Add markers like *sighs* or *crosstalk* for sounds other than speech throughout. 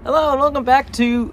Hello and welcome back to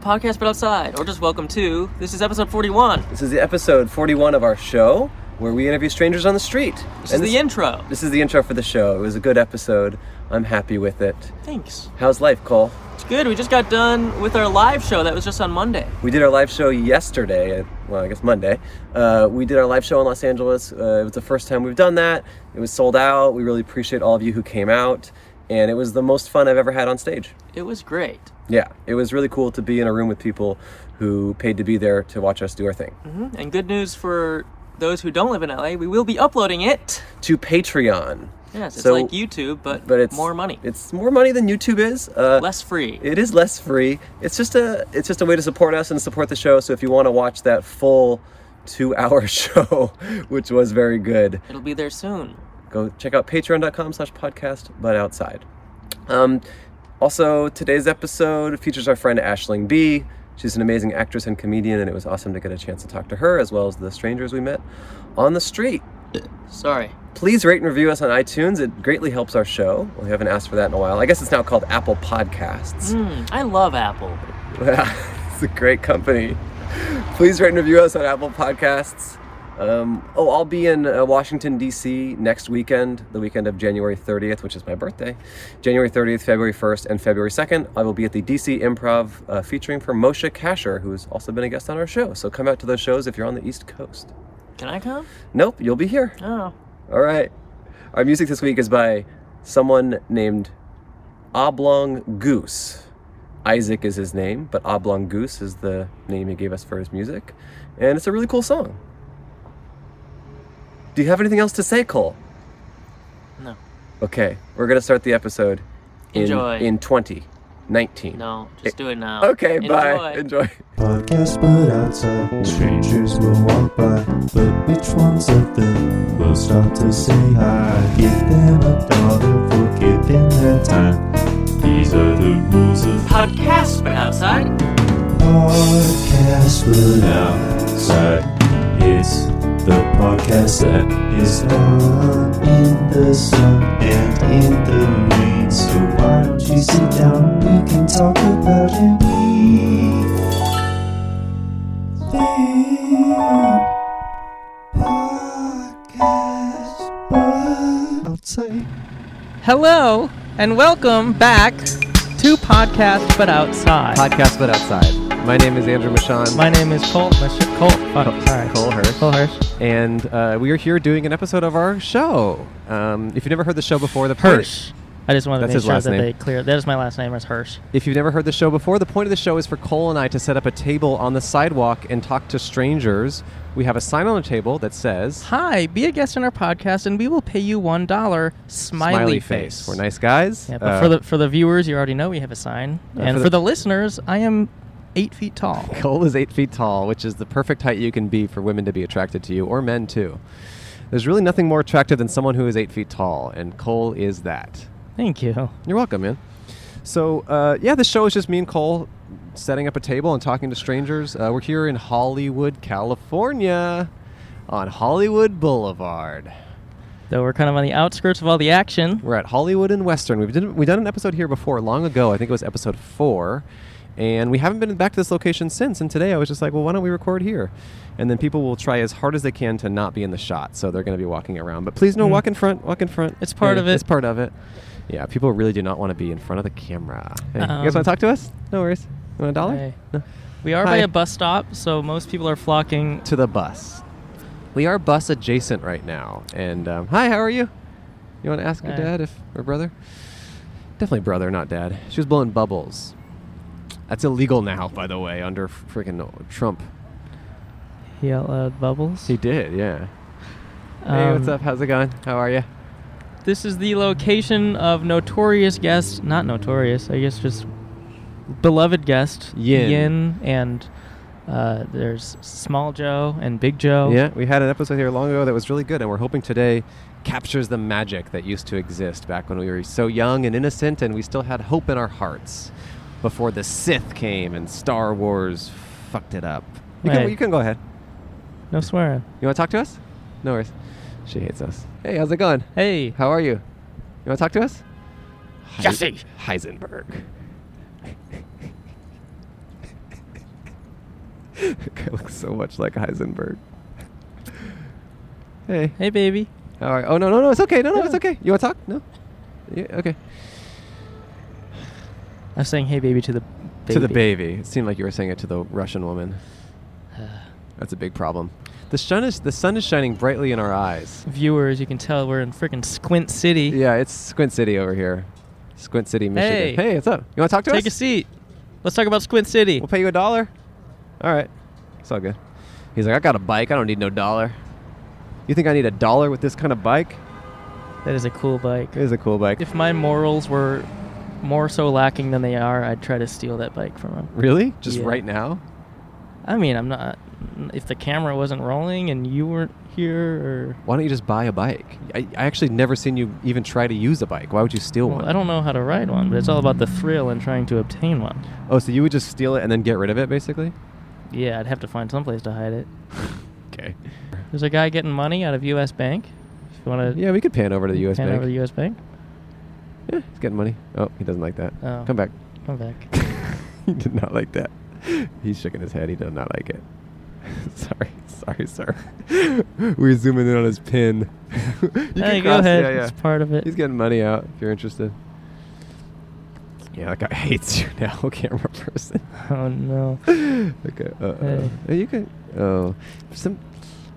Podcast But Outside, or just welcome to. This is episode 41. This This is the episode 41 of our show where we interview strangers on the street. This is the intro. This is the intro for the show. It was a good episode. I'm happy with it. Thanks. How's life, Cole? It's good. We just got done with our live show that was just on Monday. We did our live show yesterday. uh, Well, I guess Monday. Uh, we did our live show in Los Angeles. Uh, it was the first time we've done that. It was sold out. We really appreciate all of you who came out, and it was the most fun I've ever had on stage. It was great. Yeah, it was really cool to be in a room with people who paid to be there to watch us do our thing. Mhm. And good news for those who don't live in LA, we will be uploading it. To Patreon. Yes, it's So- like YouTube, but, but it's more money, It's more money than YouTube is. Uh, less free. It is less free. It's just a it's just a way to support us and support the show. So if you want to watch that full two hour *laughs* show, which was very good, It'll be there soon. go check out patreon.com slash podcast but outside. Um, also today's episode features our friend Ashling B. She's an amazing actress and comedian, and it was awesome to get a chance to talk to her as well as the strangers we met on the street Sorry. please rate and review us on iTunes. It greatly helps our show. We haven't asked for that in a while. I guess it's now called Apple *laughs* Podcasts. Mm, I love Apple. it's a great company. Please rate and review us on Apple Podcasts. Um, oh, I'll be in uh, Washington, D.C. next weekend, the weekend of January 30th, which is my birthday. January 30th, February 1st, and February 2nd. I will be at the D.C. Improv uh, featuring for Moshe Kasher, who's also been a guest on our show. So come out to those shows if you're on the East Coast. Can I come? Nope, you'll be here. Oh. All right. Our music this week is by someone named Oblong Goose. Isaac is his name, but Oblong Goose is the name he gave us for his music. And it's a really cool song. Do you have anything else to say, Cole? No. Okay, we're going to start the episode in, Enjoy. in 2019. No. Just do it now. Okay, bye. Enjoy. Enjoy. Podcast but outside, strangers will walk by. But which ones of them will stop to say hi? Give them a dollar for giving their time. These are the rules of Podcast But Outside. Podcast but outside. It's the podcast that is on in the sun and in the rain. So why don't you sit down? We can talk about anything. Podcast but outside. Hello and welcome back to Podcast But Outside. Podcast But Outside. My name is Andrew Michon. My name is Colt. My shit Colt. Oh, sorry. Cole Hirsch. Cole Hirsch. and uh, we are here doing an episode of our show. Um, if you've never heard the show before, the point- Hirsch. I just wanted That's to his make sure last that name. they clear. That is my last name. Is Hirsch. If you've never heard the show before, the point of the show is for Cole and I to set up a table on the sidewalk and talk to strangers. We have a sign on the table that says Hi. Be a guest on our podcast, and we will pay you one dollar. Smiley, face. We're nice guys. Yeah, but Uh, for the for the viewers, you already know we have a sign, uh, and for for, the- the listeners, I am eight feet tall. Cole is eight feet tall, which is the perfect height you can be for women to be attracted to you, or men too. There's really nothing more attractive than someone who is eight feet tall, and Cole is that. Thank you. You're welcome, man. So, uh, yeah, the show is just me and Cole setting up a table and talking to strangers. Uh, we're here in Hollywood, California, on Hollywood Boulevard. Though we're kind of on the outskirts of all the action. We're at Hollywood and Western. We've done, we've done an episode here before, long ago. I think it was episode four. And we haven't been back to this location since. And today I was just like, well, why don't we record here? And then people will try as hard as they can to not be in the shot. So they're going to be walking around. But please no, Mm. walk in front, walk in front. It's part of it. It's part of it. Yeah, people really do not want to be in front of the camera. Hey, you guys Um, want to talk to us? No worries. You want a dollar? Hey. No. We are by Hi. a bus stop, so most people are flocking To the bus. We are bus adjacent right now. And um, hi, how are you? You want to ask your Hi. dad if or brother? Definitely brother, not dad. She was blowing bubbles. That's illegal now, by the way, under freaking Trump. He out loud uh, bubbles. He did, yeah. hey, what's Um, up? How's it going? How are you? This is the location of notorious guest, not notorious, I guess just beloved guest Yin. Yin and uh, there's Small Joe and Big Oh. Joe. Yeah, we had an episode here long ago that was really good, and we're hoping today captures the magic that used to exist back when we were so young and innocent, and we still had hope in our hearts before the Sith came and Star Wars fucked it up. You, can, Right. you can go ahead. No swearing. You want to talk to us? No worries. She hates us. Hey, how's it going? Hey. *laughs* How are you? You want to talk to us? Jesse Heisenberg. that guy looks so much like Heisenberg. Hey. Hey, baby. All right. Oh no no no! It's okay. No no, it's Yeah. okay. You want to talk? No. Yeah. Okay. I was saying, hey, baby, to the baby. To the baby. It seemed like you were saying it to the Russian *sighs* woman. That's a big problem. The sun is the sun is shining brightly in our eyes. Viewers, you can tell we're in freaking Squint City. Yeah, it's Squint City over here. Squint City, Michigan. Hey. hey what's up? You want to talk to us? Take a seat. Let's talk about Squint City. We'll pay you a dollar. All right. It's all good. He's like, I got a bike. I don't need no dollar. You think I need a dollar with this kind of bike? That is a cool bike. It is a cool bike. If my morals were more so lacking than they are, I'd try to steal that bike from him. really? Just Yeah. right now? I mean, I'm not. If the camera wasn't rolling and you weren't here, or Why don't you just buy a bike? I, I actually never seen you even try to use a bike. Why would you steal well, one? I don't know how to ride one, but it's all about the thrill and trying to obtain one. Oh, so you would just steal it and then get rid of it, basically? Yeah, I'd have to find someplace to hide it. Okay. There's a guy getting money out of U.S. Bank. If you want to, Yeah, we could pan over to the U.S. hand Bank. over the U.S. Bank. Yeah, he's getting money. Oh, he doesn't like that. Oh. Come back. Come back. *laughs* he did not like that. He's shaking his head. He does not like it. *laughs* sorry, sorry, sir. *laughs* We're zooming in on his pin. *laughs* you hey, can go cross- ahead. Yeah, yeah. It's part of it. He's getting money out if you're interested. Yeah, that guy *laughs* hates you now, camera person. *laughs* oh no. *laughs* okay. Uh, uh, uh, you could. Oh, some.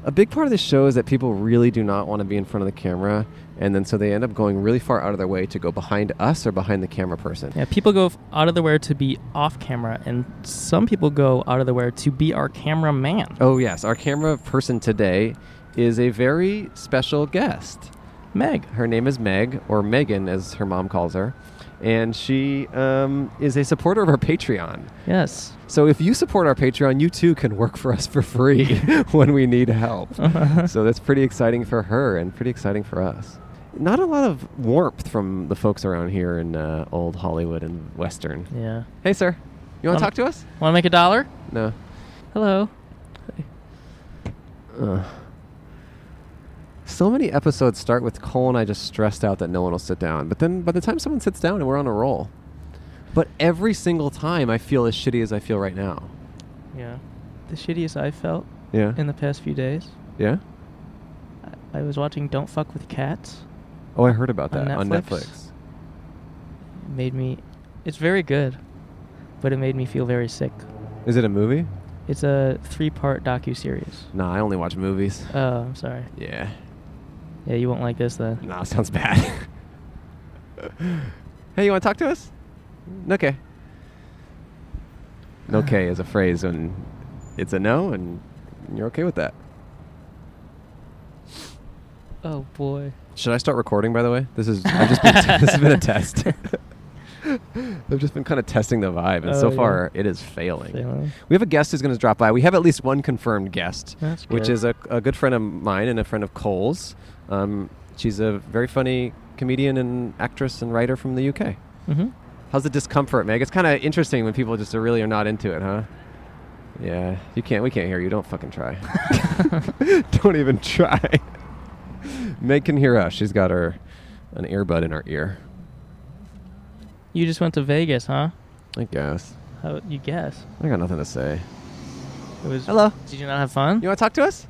A big part of this show is that people really do not want to be in front of the camera, and then so they end up going really far out of their way to go behind us or behind the camera person. Yeah, people go f- out of the way to be off camera, and some people go out of the way to be our cameraman. Oh yes, our camera person today is a very special guest. Meg. Her name is Meg, or Megan as her mom calls her, and she um, is a supporter of our Patreon. *laughs* Yes. So if you support our Patreon, you too can work for us for free *laughs* when we need *laughs* help. so that's pretty exciting for her and pretty exciting for us. Not a lot of warmth from the folks around here in uh, old Hollywood and Western. Yeah. Hey, sir, you want Um, to talk to us? Want to make a dollar? No. Hello. Ugh. So many episodes start with Cole and I just stressed out that no one will sit down. But then by the time someone sits down, we're on a roll. But every single time, I feel as shitty as I feel right now. Yeah. The shittiest I felt Yeah. in the past few days. yeah. I was watching Don't Fuck with Cats. Oh, I heard about On that on Netflix. Netflix? It made me. It's very good, but it made me feel very sick. Is it a movie? It's a three-part docu-series. Nah, I only watch movies. Oh, I'm sorry. yeah. Yeah, you won't like this then. Nah, *laughs* sounds bad. hey, you want to talk to us? Okay. Okay is a phrase when it's a no and you're okay with that. Oh boy. Should I start recording? By the way, this is I've *laughs* just been *laughs* this has been a test. *laughs* I've just been kind of testing the vibe, and so Oh, yeah. far it is failing. Failing. We have a guest who's going to drop by. We have at least one confirmed guest, That's which good. is a, a good friend of mine and a friend of Cole's. Um, she's a very funny comedian and actress and writer from the UK. Mm-hmm. How's the discomfort, Meg? It's kind of interesting when people just really are not into it, huh? Yeah, you can't. We can't hear you. Don't fucking try. *laughs* Don't even try. Meg can hear us. She's got her an earbud in her ear. You just went to Vegas, huh? I guess. How you guess? I got nothing to say. It was. Hello. Did you not have fun? You want to talk to us?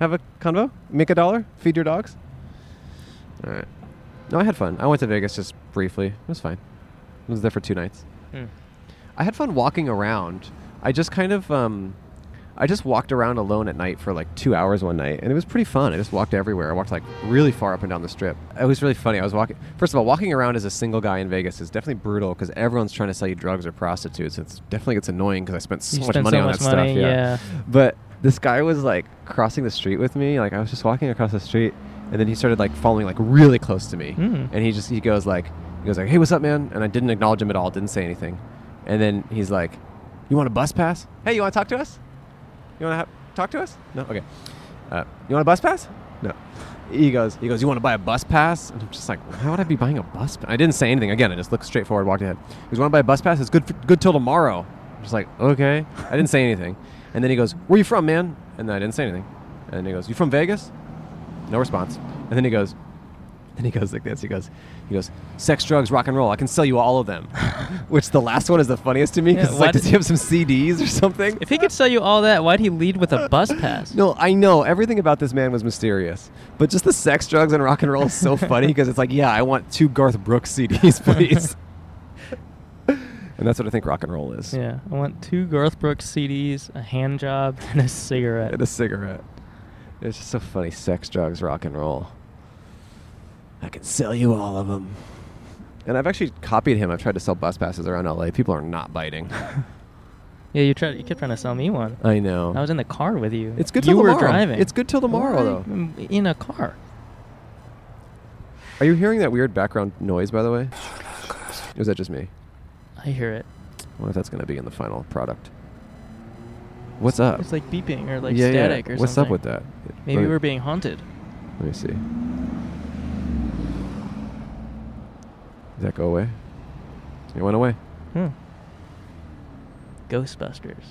Have a convo? Make a dollar? Feed your dogs? All right. No, I had fun. I went to Vegas just briefly. It was fine. I was there for two nights. Mm. I had fun walking around. I just kind of, um, I just walked around alone at night for like two hours one night, and it was pretty fun. I just walked everywhere. I walked like really far up and down the strip. It was really funny. I was walking. First of all, walking around as a single guy in Vegas is definitely brutal because everyone's trying to sell you drugs or prostitutes. It definitely gets annoying because I spent so You much spend money so on much that money, stuff. yeah. But this guy was like crossing the street with me. Like I was just walking across the street, and then he started like following like really close to me. Mm. And he just he goes like he goes like, "Hey, what's up, man?" And I didn't acknowledge him at all. Didn't say anything. And then he's like, "You want a bus pass? Hey, you want to talk to us? You want to ha- talk to us? No, okay. Uh, you want a bus pass? No." He goes, he goes, you want to buy a bus pass? And I'm just like, how would I be buying a bus pass? I didn't say anything. Again, I just looked straight forward, walked ahead. He goes, want to buy a bus pass? It's good, for, good till tomorrow. I'm just like, okay. I didn't say anything. And then he goes, where you from, man? And then I didn't say anything. And then he goes, you from Vegas? No response. And then he goes, then he goes like this. He goes, He goes, "Sex, drugs, rock and roll. I can sell you all of them." *laughs* Which the last one is the funniest to me Yeah, because why like, did- does he have some CDs or something? If he could sell you all that, why'd he lead with a bus pass? No, I know everything about this man was mysterious, but just the sex, drugs, and rock and roll is *laughs* so funny because it's like, yeah, I want two Garth Brooks CDs, *laughs* please. and that's what I think rock and roll is. Yeah, I want two Garth Brooks CDs, a hand job, *laughs* and a cigarette. And a cigarette. It's just so funny. Sex, drugs, rock and roll. I can sell you all of them. And I've actually copied him. I've tried to sell bus passes around LA. People are not biting. *laughs* Yeah, you tried. You kept trying to sell me one. I know. I was in the car with you. Oh. It's good You till were tomorrow. driving. It's good till tomorrow, though. though. In a car. Are you hearing that weird background noise, by the way? Oh, Or is that just me? I hear it. I wonder if that's going to be in the final product. What's up? It's like beeping or like Yeah, yeah. static or What's something. up with that? Maybe Let me- we're being haunted. Let me see. Did that go away? It went away. Hmm. Ghostbusters.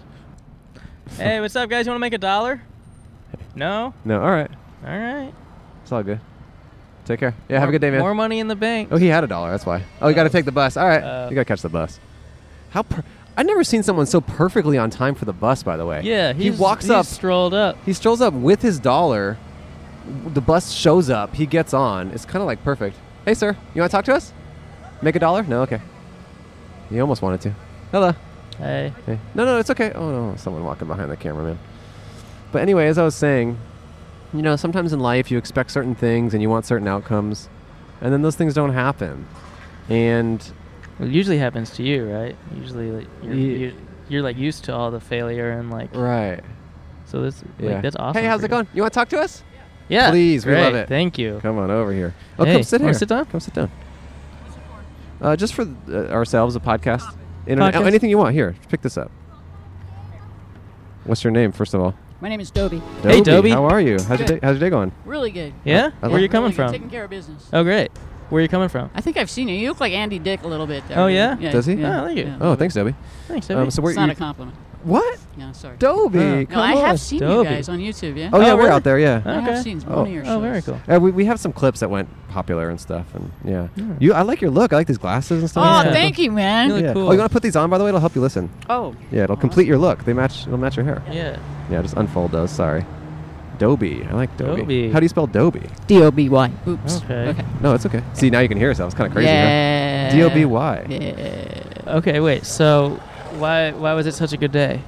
hey, what's up, guys? You want to make a dollar? No? No, all right. All right. It's all good. Take care. Yeah, have a good day, man. More money in the bank. Oh, he had a dollar. That's why. Oh, you got to Oh. take the bus. All right, Uh, you got to catch the bus. How? Per- I've never seen someone so perfectly on time for the bus. By the way. Yeah, he he's- walks he's up. strolled up. He strolls up with his dollar. W- The bus shows up. He gets on. It's kind of like perfect. Hey, sir, you want to talk to us? Make a dollar? No, okay. He almost wanted to. Hello. Hey. Hey. No, no, it's okay. Oh no, someone walking behind the cameraman. But anyway, as I was saying, you know, sometimes in life you expect certain things and you want certain outcomes, and then those things don't happen. And Well, it usually happens to you, right? Usually, like, you're, Ye- you're, you're like used to all the failure and like. right. So this, Yeah. like, that's awesome. Hey, how's for it you. going? You want to talk to us? Yeah. Please, we great. love it. Thank you. Come on over here. Oh, Hey, come sit wanna here. sit down? Come sit down. Uh, just for uh, ourselves, a podcast. Internet, Podcast. anything you want. Here, pick this up. What's your name, first of all? My name is Dobie. Hey, Dobie. How are you? How's your day, Good. how's your day going? Really good. Yeah. I Where like- you coming Really good. from? Taking care of business. Oh, great. Where are you coming from? I think I've seen you. You look like Andy Dick a little bit. There. Oh, yeah? Does he? Oh, I like it. Oh, thanks, Dobie. Thanks. Um, Abby. so where It's not you, a compliment. What? Yeah, sorry. Dobie, Yeah. No, No, come I on. have seen you Dobie. guys on YouTube. Yeah. Oh, yeah, Oh, we're really? out there. Yeah. I okay. have seen Oh. one of your Oh, very shows. cool. Uh, we, we have some clips that went popular and stuff, and yeah. Yeah. You, I like your look. I like these glasses and Oh, stuff. Yeah. thank you, man. You look Yeah. cool. Oh, you want to put these on? By the way, it'll help you listen. oh. Yeah, it'll complete your look. They match. It'll match your hair. Yeah. Yeah, just unfold those. Sorry. Dobie. I like Dobie. Dobie. How do you spell Dobie? D O B Y. Oops. Okay. No, it's okay. See, now you can hear yourself. It's kind of crazy. yeah. Huh? D O B Y. Yeah. Okay. Wait. So, why why was it such a good day?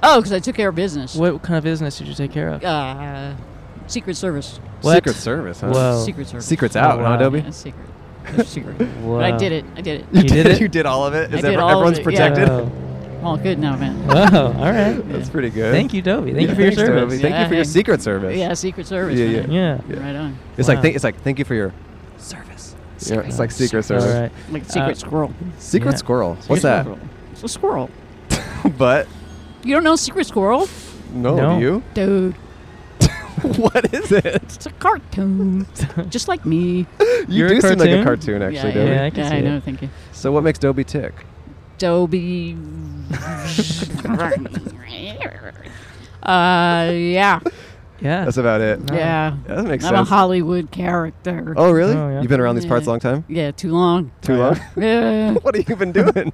Oh, because I took care of business. What kind of business did you take care of? Uh, Secret Service. What? Secret Service, huh? *laughs* Whoa. Oh. Secret Service. Secret's out, Oh, huh, wow. Dobie? Yeah, secret. It's secret. *laughs* Wow. But I did it. I did it. You did it? you did all of it. I Is did every- all of everyone's it, yeah. protected? Wow. All good now, man. Wow. All right. *laughs* That's pretty good. Thank you, Dobie. Thank you Yeah, for your thanks, service. Dobie. Thank you Yeah, for your hey. Secret Service. Yeah, Secret Service. Yeah, man. Yeah. Yeah. Right on. It's Wow. like th- it's like thank you for your Service. Yeah, it's like Secret All Service. right. Like secret Uh, squirrel. Secret Yeah. Squirrel. What's that? Squirrel. It's a squirrel. *laughs* but You don't know secret squirrel, no, No. you. *laughs* dude? what is it? It's a cartoon, *laughs* just like me. You You're do a seem like a cartoon? cartoon, actually, yeah, Dobie. Yeah, I yeah, can yeah, see I it. know. Thank you, So what makes Dobie tick? *laughs* Dobie. uh, yeah, Yeah. That's about it. No. yeah. Yeah, that makes I'm a sense. Hollywood character. oh, really? Oh, yeah. Oh, You've been around these parts a Yeah. long time? Yeah, too *laughs* long. *laughs* Too long? Yeah. what have you been doing?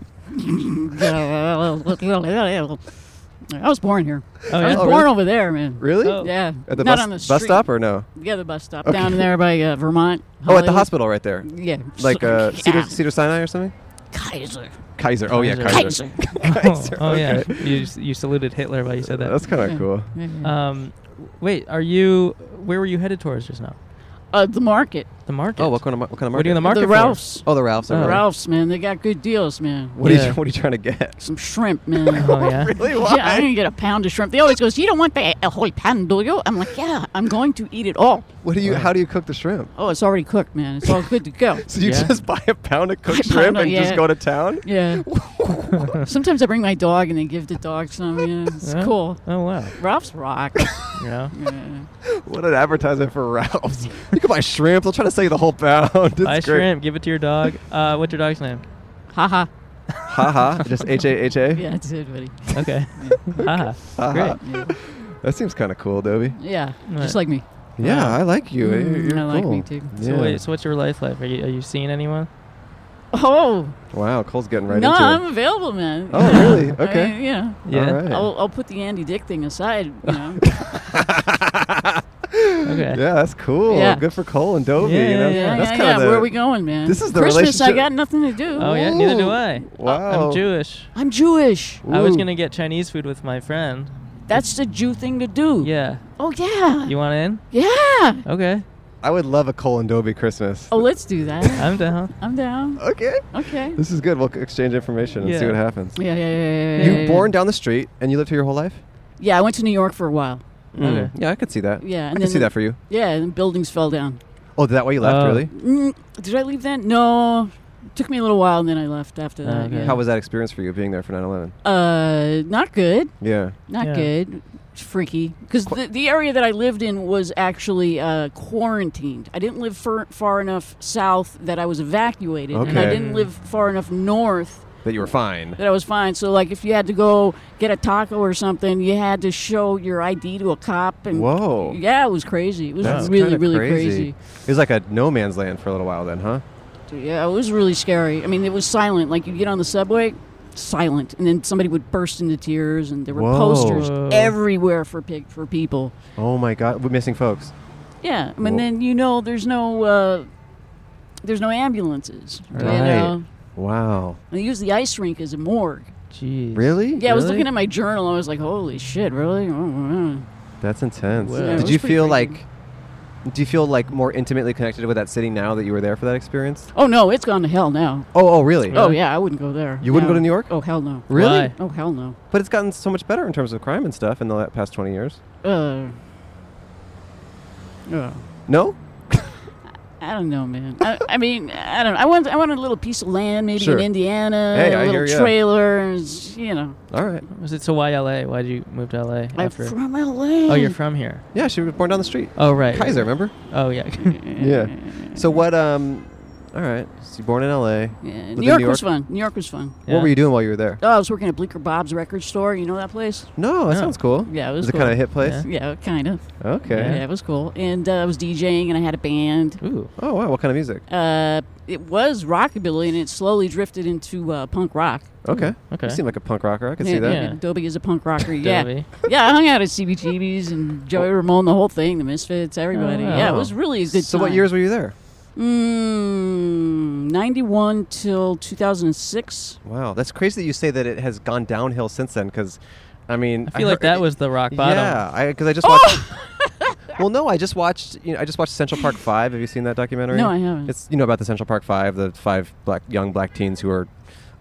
*laughs* I was born here. oh, I was *laughs* yeah. Oh, born really? over there, man. Really? Oh. Yeah. At the Not bus, on the bus street. stop or no? Yeah, the bus stop Okay. down there by uh, Vermont. Oh, at the Hollywood. hospital right there. Yeah. Like uh, Cedar, *laughs* yeah. Cedar Sinai or something? Kaiser. Kaiser. Oh, yeah, Kaiser. Kaiser. Kaiser. Oh, Kaiser, oh, yeah. okay. You s- you saluted Hitler while you said that. That's kind of Yeah. cool. Yeah. Um, w- wait. Are you? Where were you headed towards just now? Uh, the market. The market. Oh, what kind of, mar- what kind of market? What are you in the market the for? Ralphs. Oh, the Ralphs. Oh. over there. Ralphs, man. They got good deals, man. *laughs* What, are Yeah. you, what are you trying to get? Some shrimp, man. Oh yeah. Really? *laughs* Why? *laughs* yeah, I didn't get a pound of shrimp. They always goes, you don't want the uh, a whole pound, do you? I'm like, yeah, I'm going to eat it all. What do you? How do you cook the shrimp? Oh, it's already cooked, man. It's all good to go. *laughs* So you Yeah. just buy a pound of *laughs* I cooked don't shrimp know and just yet. go to town? *laughs* Yeah. Sometimes I bring my dog and they give the dog some. Yeah, it's Yeah. cool. Oh wow. Ralphs *laughs* rock. Yeah. yeah. What an advertisement for Ralph's. *laughs* You can buy shrimp. They'll try to sell you the whole pound. *laughs* It's Buy great. shrimp. Give it to your dog. Uh, what's your dog's name? Haha. *laughs* Haha. Just H A H A. Yeah, that's it, *laughs* buddy. *laughs* Okay. Haha. Great. Uh-huh. That seems kind of cool, Dobie. Yeah, Right. just like me. Yeah, I like you. You're- Mm, you're I like me cool. too. Yeah. So wait, so what's your life like? Are you, are you seeing anyone? Oh, Wow, Cole's getting right no, into I'm it. available, man. Oh, really? *laughs* I- Okay. yeah. Yeah. All right. I'll, I'll put the Andy Dick thing aside. You *laughs* know. Okay. Yeah, that's cool. Yeah. Good for Cole and Dovey. Yeah, you know? yeah, yeah, that's yeah, kind yeah. of Where are we going, man? this is the Christmas. I relationship- got nothing to do. Oh yeah, neither do Ooh. I. Wow. I'm Jewish. Oh, I'm Jewish. Ooh. I was gonna get Chinese food with my friend. That's the Jew thing to do. Yeah. Oh yeah. You want in? yeah. Okay. I would love a Cole and Dovey Christmas. Oh, let's do that. I'm down. I'm down. Okay. *laughs* Okay. This is good. We'll c- exchange information and see Yeah. what happens. Yeah, yeah, yeah, yeah. yeah, You yeah, were born down the street and you lived here your whole life? Yeah, I went to New York for a while. Okay. Yeah, I could see that. Mm. Yeah, and I then could see the- that for you. Yeah, and buildings fell down. Oh, that way you left, Oh. really? Mm, did I leave then? No. Took me a little while, and then I left after that. Okay. yeah. How was that experience for you being there for 9 11? Uh, not good. Yeah. Not Yeah. good. It's freaky. Because the, the area that I lived in was actually uh, quarantined. I didn't live far, far enough south that I was evacuated, and I Okay. didn't live far enough north That you were fine. that I was fine. So, like, if you had to go get a taco or something, you had to show your ID to a cop. And Whoa. yeah, it was crazy. It was That's really, kinda really crazy. crazy. It was like a no man's land for a little while then, huh? Yeah, it was really scary. I mean, it was silent. Like you get on the subway, silent, and then somebody would burst into tears, and there were Whoa. posters Whoa. everywhere for pig for people. Oh my God. We're missing folks. Yeah, I Whoa. mean, then you know, there's no uh, there's no ambulances. You Right. know? Wow. They use the ice rink as a morgue. Jeez. Really? Yeah, I was Really? looking at my journal. I was like, "Holy shit, really?" Oh, wow. That's intense. Wow. Yeah, it Did was you pretty feel freaky. like. Do you feel like more intimately connected with that city now that you were there for that experience? Oh no, it's gone to hell now. Oh, oh, really? Oh yeah, I wouldn't go there. You wouldn't No. go to New York? Oh hell no. Really? Why? Oh hell no. But it's gotten so much better in terms of crime and stuff in the la- past 20 years. Uh, uh, No? I don't know, man. I, I mean, I don't. I want. I want a little piece of land, maybe Sure. in Indiana. Hey, a I little hear ya. trailers. You know, All right. Was it so? Why LA? Why did you move to LA I'm after? from LA. oh, you're from here. Yeah, she was born down the street. Oh right. Kaiser, remember? Oh yeah. Yeah. So what? Um, all right. So you born in L.A. Yeah, Within New York, New was York? fun. New York was fun. What were you doing while you were there? Oh, I was working at Bleecker Bob's record store. You know that place? No, that No. sounds cool. Yeah, it was Is it kind of cool. a hit place? Yeah, kind of. Yeah. Okay. it was cool. And uh, I was DJing, and I had a band. *laughs* Ooh. Oh wow, what kind of music? Uh, it was rockabilly, and it slowly drifted into uh, punk rock. Okay. okay. You seem like a punk rocker. I can yeah, see that. yeah, Dobie is a *laughs* punk rocker. yeah, Dobie. yeah. I hung out at CBGB's and Joey Ramone, the whole thing, the Misfits, everybody. Yeah, wow. it was really a good. Oh, So what time. years were you there? Mm, 91 till 2006. Wow, that's crazy that you say that it has gone downhill since then. Because, I mean, I feel like heard- that was the rock bottom. Yeah, I because I Oh! just watched. *laughs* well, no, I just watched. You know, I just watched Central Park Five. Have you seen that documentary? No, I haven't. It's you know about the Central Park Five, the five black young black teens who were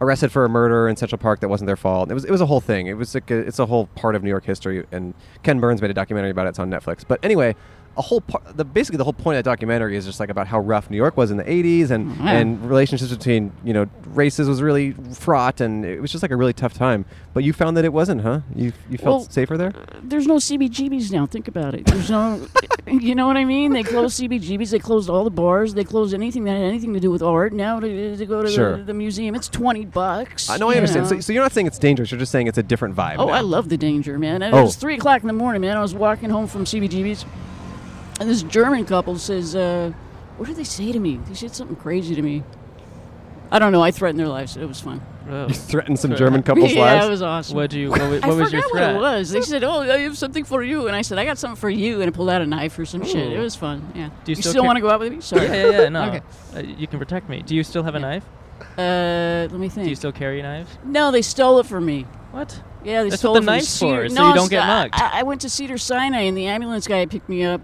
arrested for a murder in Central Park that wasn't their fault. It was it was a whole thing. It was like a, it's a whole part of New York history. And Ken Burns made a documentary about it. It's on Netflix. But anyway. A whole part, the basically the whole point of that documentary is just like about how rough New York was in the '80s, and Oh, yeah. and relationships between you know races was really fraught, and it was just like a really tough time. But you found that it wasn't, huh? You you felt Well, safer there? There's no CBGBs now. Think about it. There's no, *laughs* you know what I mean? They closed CBGBs. They closed all the bars. They closed anything that had anything to do with art. Now to, to go to Sure. the, the museum, it's 20 bucks. I know I you understand. know? So, so you're not saying it's dangerous. You're just saying it's a different vibe. Oh, now. I love the danger, man. It Oh. was three o'clock in the morning, man. I was walking home from CBGB's, and this German couple says, uh, "What did they say to me? They said something crazy to me. I don't know. I threatened their lives. It was fun. Whoa. *laughs* You threaten some *laughs* German couples' yeah, lives. it was awesome. What'd you? What, was, I what was forgot your threat? what it was. They said, "Oh, I have something for you," and I said, "I got something for you," and I pulled out a knife or some shit. Ooh. It was fun. Yeah. Do you still still care- want to go out with me? *laughs* Sorry. Yeah, yeah, yeah. No. Okay. Uh, you can protect me. Do you still have a knife? Uh, let me Do you think. still carry knives? no, they stole it from me. What? Yeah, they That's stole what it the from knife's Cedar- for, so no, you don't it's- get I- mugged. I, I went to Cedar Sinai, and the ambulance guy picked me up.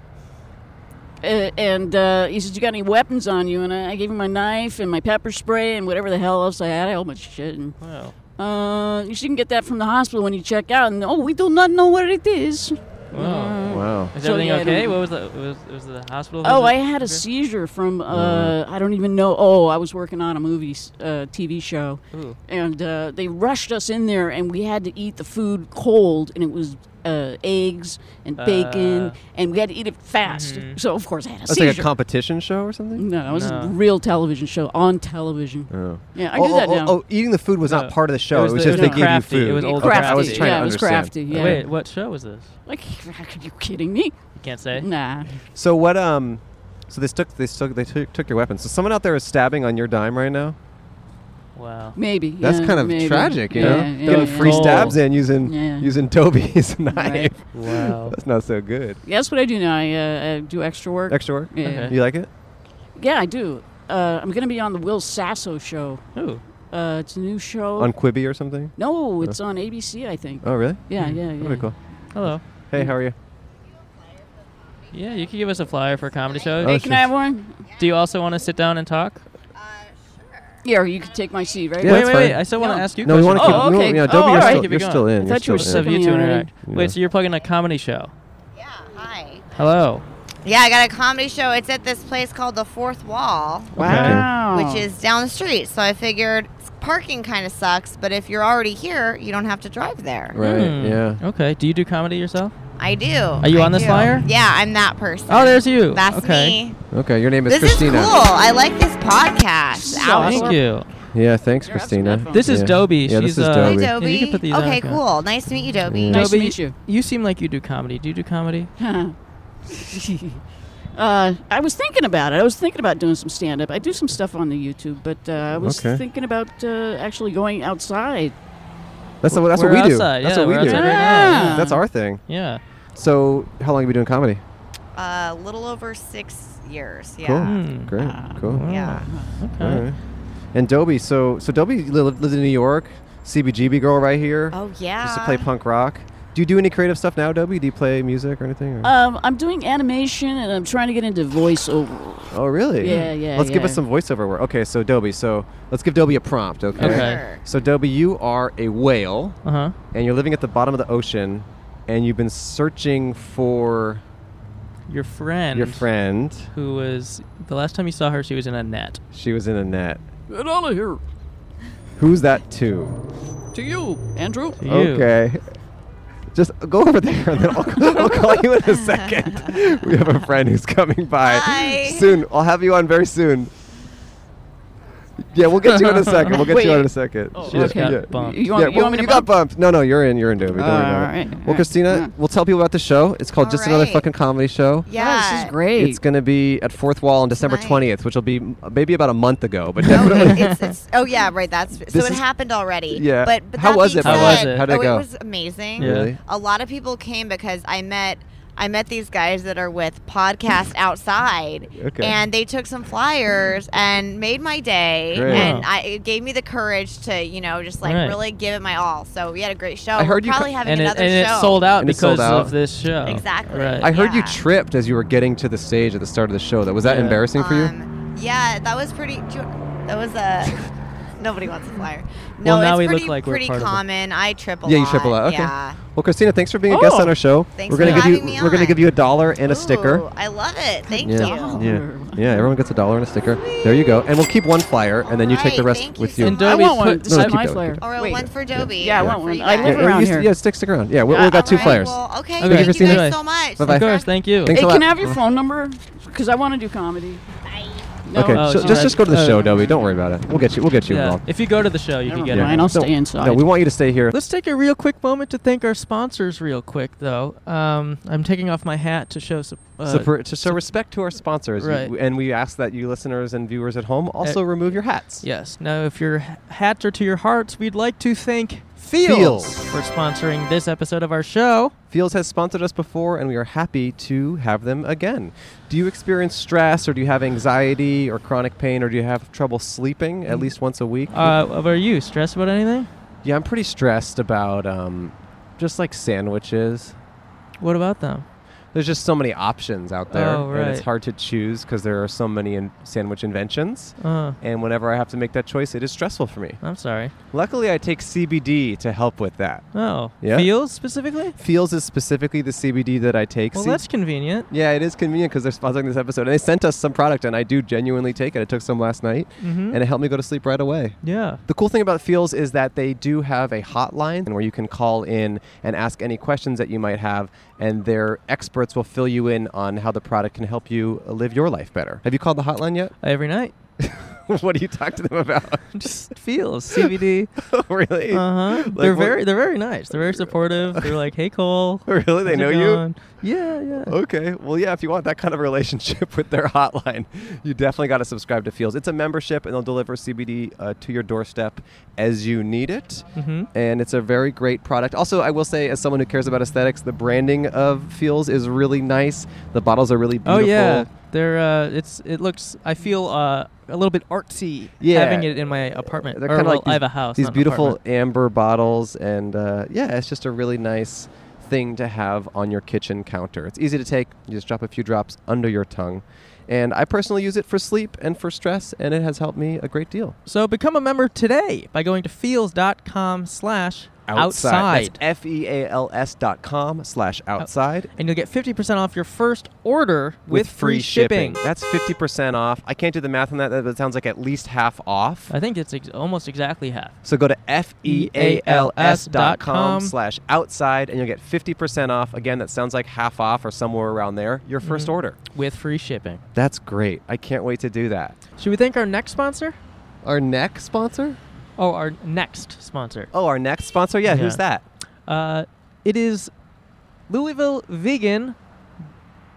Uh, and uh, he said, "You got any weapons on you?" And I, I gave him my knife and my pepper spray and whatever the hell else I had. I had a whole bunch of shit. And Wow. uh, you shouldn't get that from the hospital when you check out. And oh, we do not know what it is. Wow. wow. Is So, everything yeah, I okay? don't- What was the was, was the hospital? Mm. Oh, visit? I had a seizure from uh, Mm. I don't even know. Oh, I was working on a movie, s- uh, TV show, Ooh. and uh, they rushed us in there, and we had to eat the food cold, and it was uh, eggs and bacon, Uh. and we had to eat it fast. Mhm. So of course I had a Mm-hmm. That's seizure. like a competition show or something. no, it was No. a real television show on television. Oh. Yeah, I oh, do that oh, now. oh, eating the food was No. not part of the show. It It was was, the- just no. they gave Crafty. you food. It was old Okay, I was crafty. trying yeah, to it was understand. crafty. Yeah. Wait, what show was this? Like, are *laughs* you kidding me? Can't say. Nah. So what? Um, so they took they took they took, took your weapons. So someone out there is stabbing on your dime right now. Wow. *laughs* Maybe. That's yeah, kind of maybe. tragic, you yeah, know. Yeah, Getting yeah. free Oh. stabs in using Yeah. using Toby's *laughs* knife. Right. Wow. That's not so good. That's what I do now. I, uh, I do extra work. Extra work. Yeah. Okay. You like it? Yeah, I do. Uh, I'm going to be on the Will Sasso show. Ooh. Uh, it's a new show. On Quibi or something? no, it's on ABC, I think. Oh, really? yeah, yeah, yeah. That'd be cool. Hello. Hey, how are you? Yeah, you could give us a flyer for a comedy show. Hey, Oh, can sure. I have one? Do you also want to sit down and talk? Yeah, or you can take my seat, right? Yeah, wait, that's wait, fine. wait. I still want to No. ask you. No, we want to questions. keep. Oh, we okay. wanna- yeah, Oh, Toby, you're, alright. still, Keep it you're going. still in. I You're thought you were still in. Just of you to Yeah, interact. right. Yeah. Wait, so you're plugging a comedy show. Yeah, hi. Hello. Yeah, I got a comedy show. It's at this place called The Fourth Wall, Wow. Oh. which is down the street. So I figured s- parking kind of sucks, but if you're already here, you don't have to drive there. Right. Hmm. Yeah. Okay. Do you do comedy yourself? I do. Are you on this flyer? Yeah, I'm that person. Oh, there's you. That's okay. me. Okay. Your name is This Christina. is cool. I like this podcast. Ow. Awesome. Thank you. Yeah. Thanks, You're up to Christina. that phone. This is Yeah. Dobie. Yeah, this She's, is uh, Hey, Dobie. Yeah, Dobie. you can put these okay, on. cool. Nice to meet you, Dobie. Nice to Dobie, meet you. You seem like you do comedy. Do you do comedy? uh, *laughs* I was thinking about it. I was thinking about doing some stand up. I do some stuff on the YouTube, but uh, I was Okay. thinking about uh, actually going outside. That's, the- that's we're what we do. outside. That's yeah, what we we're do. outside right now. Yeah. That's our thing. Yeah. So, how long have you been doing comedy? A uh, little over six years. Yeah. Cool. Hmm. Great. Cool. Yeah. All Okay. right. And Dobie, so so Dobie li- lives in New York, CBGB girl right here. Oh yeah. Used to play punk rock. Do you do any creative stuff now, Dobie? Do you play music or anything? or- Um, I'm doing animation and I'm trying to get into voiceover. oh, really? yeah, yeah, Let's give yeah. us some voiceover work. Okay, so Dobie, so let's give Dobie a prompt, okay? Okay. Sure. So Dobie, you are a whale, Uh huh. and you're living at the bottom of the ocean, and you've been searching for Your friend. Mm-hmm. your friend. Who was the last time you saw her? She was in a net. She was in a net. Get out of here. Who's that to? To you, Andrew. To you. Okay. Just go over there, and then I'll, I'll call you in *laughs* a second. We have a friend who's coming by Hi. soon. I'll have you on very soon. Yeah, we'll get you in a second. We'll get you on in a Wait. Oh, second. She just Okay. got Yeah. bumped. You want, yeah, you well, want me to you got bumped. No, no, you're in. You're in, Dobie. Don't worry about Alright, it. Well, alright, Christina, yeah. we'll tell people about the show. It's called Just Another Alright. Fucking Comedy Show. Yeah. Oh, This is great. It's going to be at Fourth Wall on December Tonight. 20th, which will be m- maybe about a month ago, but Oh, definitely. it- it's, it's, oh yeah, right. That's so This it is- hapted already. Yeah. But, but How that was being it, by the said- way? How did it oh, go? It was amazing. Yeah. Really? A lot of people came because I met I met these guys that are with *laughs* podcast outside, Okay. and they took some flyers and made my day, Great. and Wow. I, it gave me the courage to you know just like Right. really give it my all. So we had a great show. I heard We're you probably co- having And, it, another and show. it sold out And it because sold out. of this show. Exactly. *laughs* Right. I heard you Yeah. tripped as you were getting to the stage at the start of the show. That Was that Yeah. embarrassing for you? Um, yeah, that was pretty. Do you, that *laughs* was a. nobody wants a flyer. No, Well, now it's we look pretty, like we're pretty part of it. common. I trip a lot. Yeah, you triple out. Okay. Yeah. Well, Christina, thanks for being a guest Oh, on our show. thanks we're gonna for give you having me we're gonna on. give you a dollar and a Ooh, Oh. sticker. I love it. Thank Yeah. you. Yeah. Yeah, everyone gets a dollar and a sticker. There you go. And we'll keep one flyer and then you take the Alright, rest thank you with so you. And I Dobie, want one. put- This no, is keep my going, flyer. keep Or Wait. one for Dobie. Yeah, I want for one. you I guys. live yeah, around you- here. Uh, yeah, stick stick around. Yeah, we, Yeah, we've got two Alright, flyers. Well, okay. Okay, Thank you Christina. guys so much. Bye-bye. Of course. Thank you. Thanks Hey, a can lot. I have your phone number? Because I want to do comedy. No, Okay, so Oh, she's just right. just go to the Uh, show, Dobie. Don't worry about it. We'll get you. We'll get you Yeah. involved. If you go to the show, you can get Never it. mind, I'll stay No, inside. we want you to stay here. Let's take a real quick moment to thank our sponsors, real quick, though. Um, I'm taking off my hat to show sup- uh, So for, to show respect to our sponsors, you- Right. Uh, and we ask that you listeners and viewers at home also remove your hats. Yes. Now, if your h- hats are to your hearts, we'd like to thank Fields, Fields. for sponsoring this episode of our show. Fields has sponsored us before, and we are happy to have them again. Do you experience stress, or do you have anxiety, or chronic pain, or do you have trouble sleeping at least once a week? Mm. Uh, of- are you stressed about anything? yeah, I'm pretty stressed about um, just like sandwiches. What about them? There's just so many options out there, Oh, and it's right. hard to choose because there are so many in- sandwich inventions. Uh, And whenever I have to make that choice, it is stressful for me. I'm sorry. Luckily, I take CBD to help with that. Oh, Yeah? Fields specifically? Feels is specifically the CBD that I take. Well, See- that's convenient. Yeah, it is convenient because they're sponsoring this episode. And they sent us some product, and I do genuinely take it. I took some last night, Mhm. and it helped me go to sleep right away. Yeah. The cool thing about Feels is that they do have a hotline where you can call in and ask any questions that you might have, and their experts will fill you in on how the product can help you live your life better. Have you called the hotline yet? *laughs* Every night. what do you talk to them about? Just *laughs* feels CBD. really? Uh huh. *laughs* Like they're what- very, they're very nice. They're *laughs* very supportive. They're like, "Hey, Cole." Really? They how's it know you? going?" Yeah, yeah. Okay. Well, yeah, if you want that kind of relationship *laughs* with their hotline, you definitely got to subscribe to Feels. It's a membership, and they'll deliver CBD uh, to your doorstep as you need it. Mhm. And it's a very great product. Also, I will say, as someone who cares about aesthetics, the branding of Feels is really nice. The bottles are really Oh beautiful. yeah. They're. Uh, it's. It looks. I feel uh, a little bit artsy. Yeah. Having it in my apartment. They're Or, kind of well, like these, I have a house. These not an beautiful apartment. amber bottles, and uh, yeah, it's just a really nice thing to have on your kitchen counter. It's easy to take. You just drop a few drops under your tongue, and I personally use it for sleep and for stress, and it has helped me a great deal. So become a member today by going to feels.com slash outside. Oh. That's F E A L S dot com slash outside. And you'll get 50% off your first order with, free shipping. That's 50% off. I can't do the math on that. That that sounds like at least half off. I think it's ex- almost exactly half. So go to E E F-E-A-L-S dot com com. slash outside and you'll get 50% off. Again, that sounds like half off or somewhere around there. Your Mm-hmm. 1st order. With free shipping. That's great. I can't wait to do that. Should we thank our next sponsor? Our next sponsor? Oh, our next sponsor. Oh, our next sponsor? Yeah, who's Yeah. that? Uh, it is Louisville Vegan.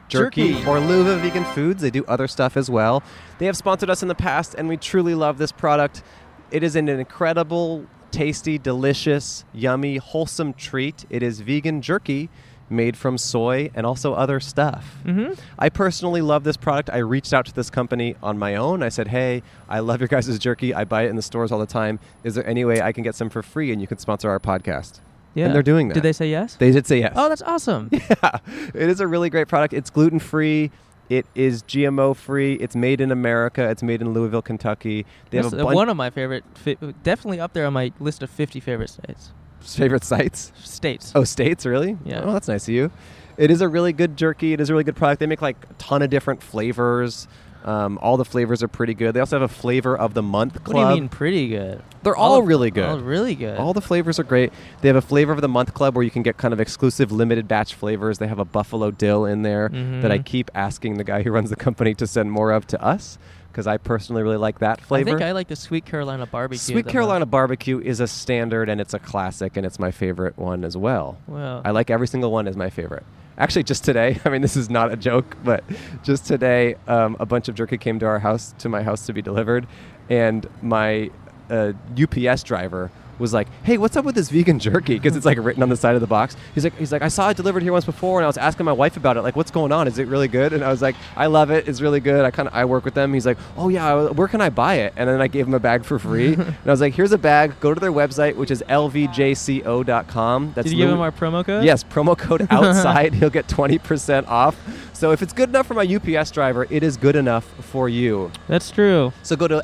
Jerky, Jerky. or Luva Vegan Foods. They do other stuff as well. They have sponsored us in the past, and we truly love this product. It is an incredible, tasty, delicious, yummy, wholesome treat. It is vegan jerky made from soy and also other stuff. Mm-hmm. I personally love this product. I reached out to this company on my own. I said, "Hey, I love your guys' jerky. I buy it in the stores all the time. Is there any way I can get some for free and you can sponsor our podcast?" Yeah. And they're doing that. Did they say yes? They did say yes. oh, *laughs* that's awesome. yeah. It is a really great product. It's gluten free. It is GMO free. It's made in America. It's made in Louisville, Kentucky. They That's have a bunch uh, one of of my favorite, fi- definitely up there on my list of 50 favorite states. Uh, favorite sites. States. Oh, states, really? Yeah. Oh, that's nice of you. It is a really good jerky. It is a really good product. They make like a ton of different flavors. Um, all the flavors are pretty good. They also have a flavor of the month what club. do you mean pretty good? They're all of- really good. All Oh, really good. All the flavors are great. They have a flavor of the month club where you can get kind of exclusive limited batch flavors. They have a buffalo dill in there Mhm. that I keep asking the guy who runs the company to send more of to us because I personally really like that flavor. I think I like the Sweet Carolina barbecue. Sweet the Carolina barbecue is a standard and it's a classic and it's my favorite one as well. most. Well, I like every single one as my favorite. Actually, just today, *laughs* I mean, this is not a joke, but just today, um, a bunch of jerky came to our house, to my house to be delivered. And my uh, UPS driver was like, hey, what's up with this vegan jerky? Because it's like written on the side of the box. He's like, he's like, I saw it delivered here once before and I was asking my wife about it. Like, what's going on? Is it really good? And I was like, I love it. It's really good. I kind of, I work with them. He's like, oh yeah, I- where can I buy it? And then I gave him a bag for *laughs* free. and I was like, here's a bag. Go to their website, which is lvjco.com. That's did you give Louis- him our promo code? Yes, promo code *laughs* outside. He'll get 20% off. So if it's good enough for my UPS driver, it is good enough for you. that's true. So go to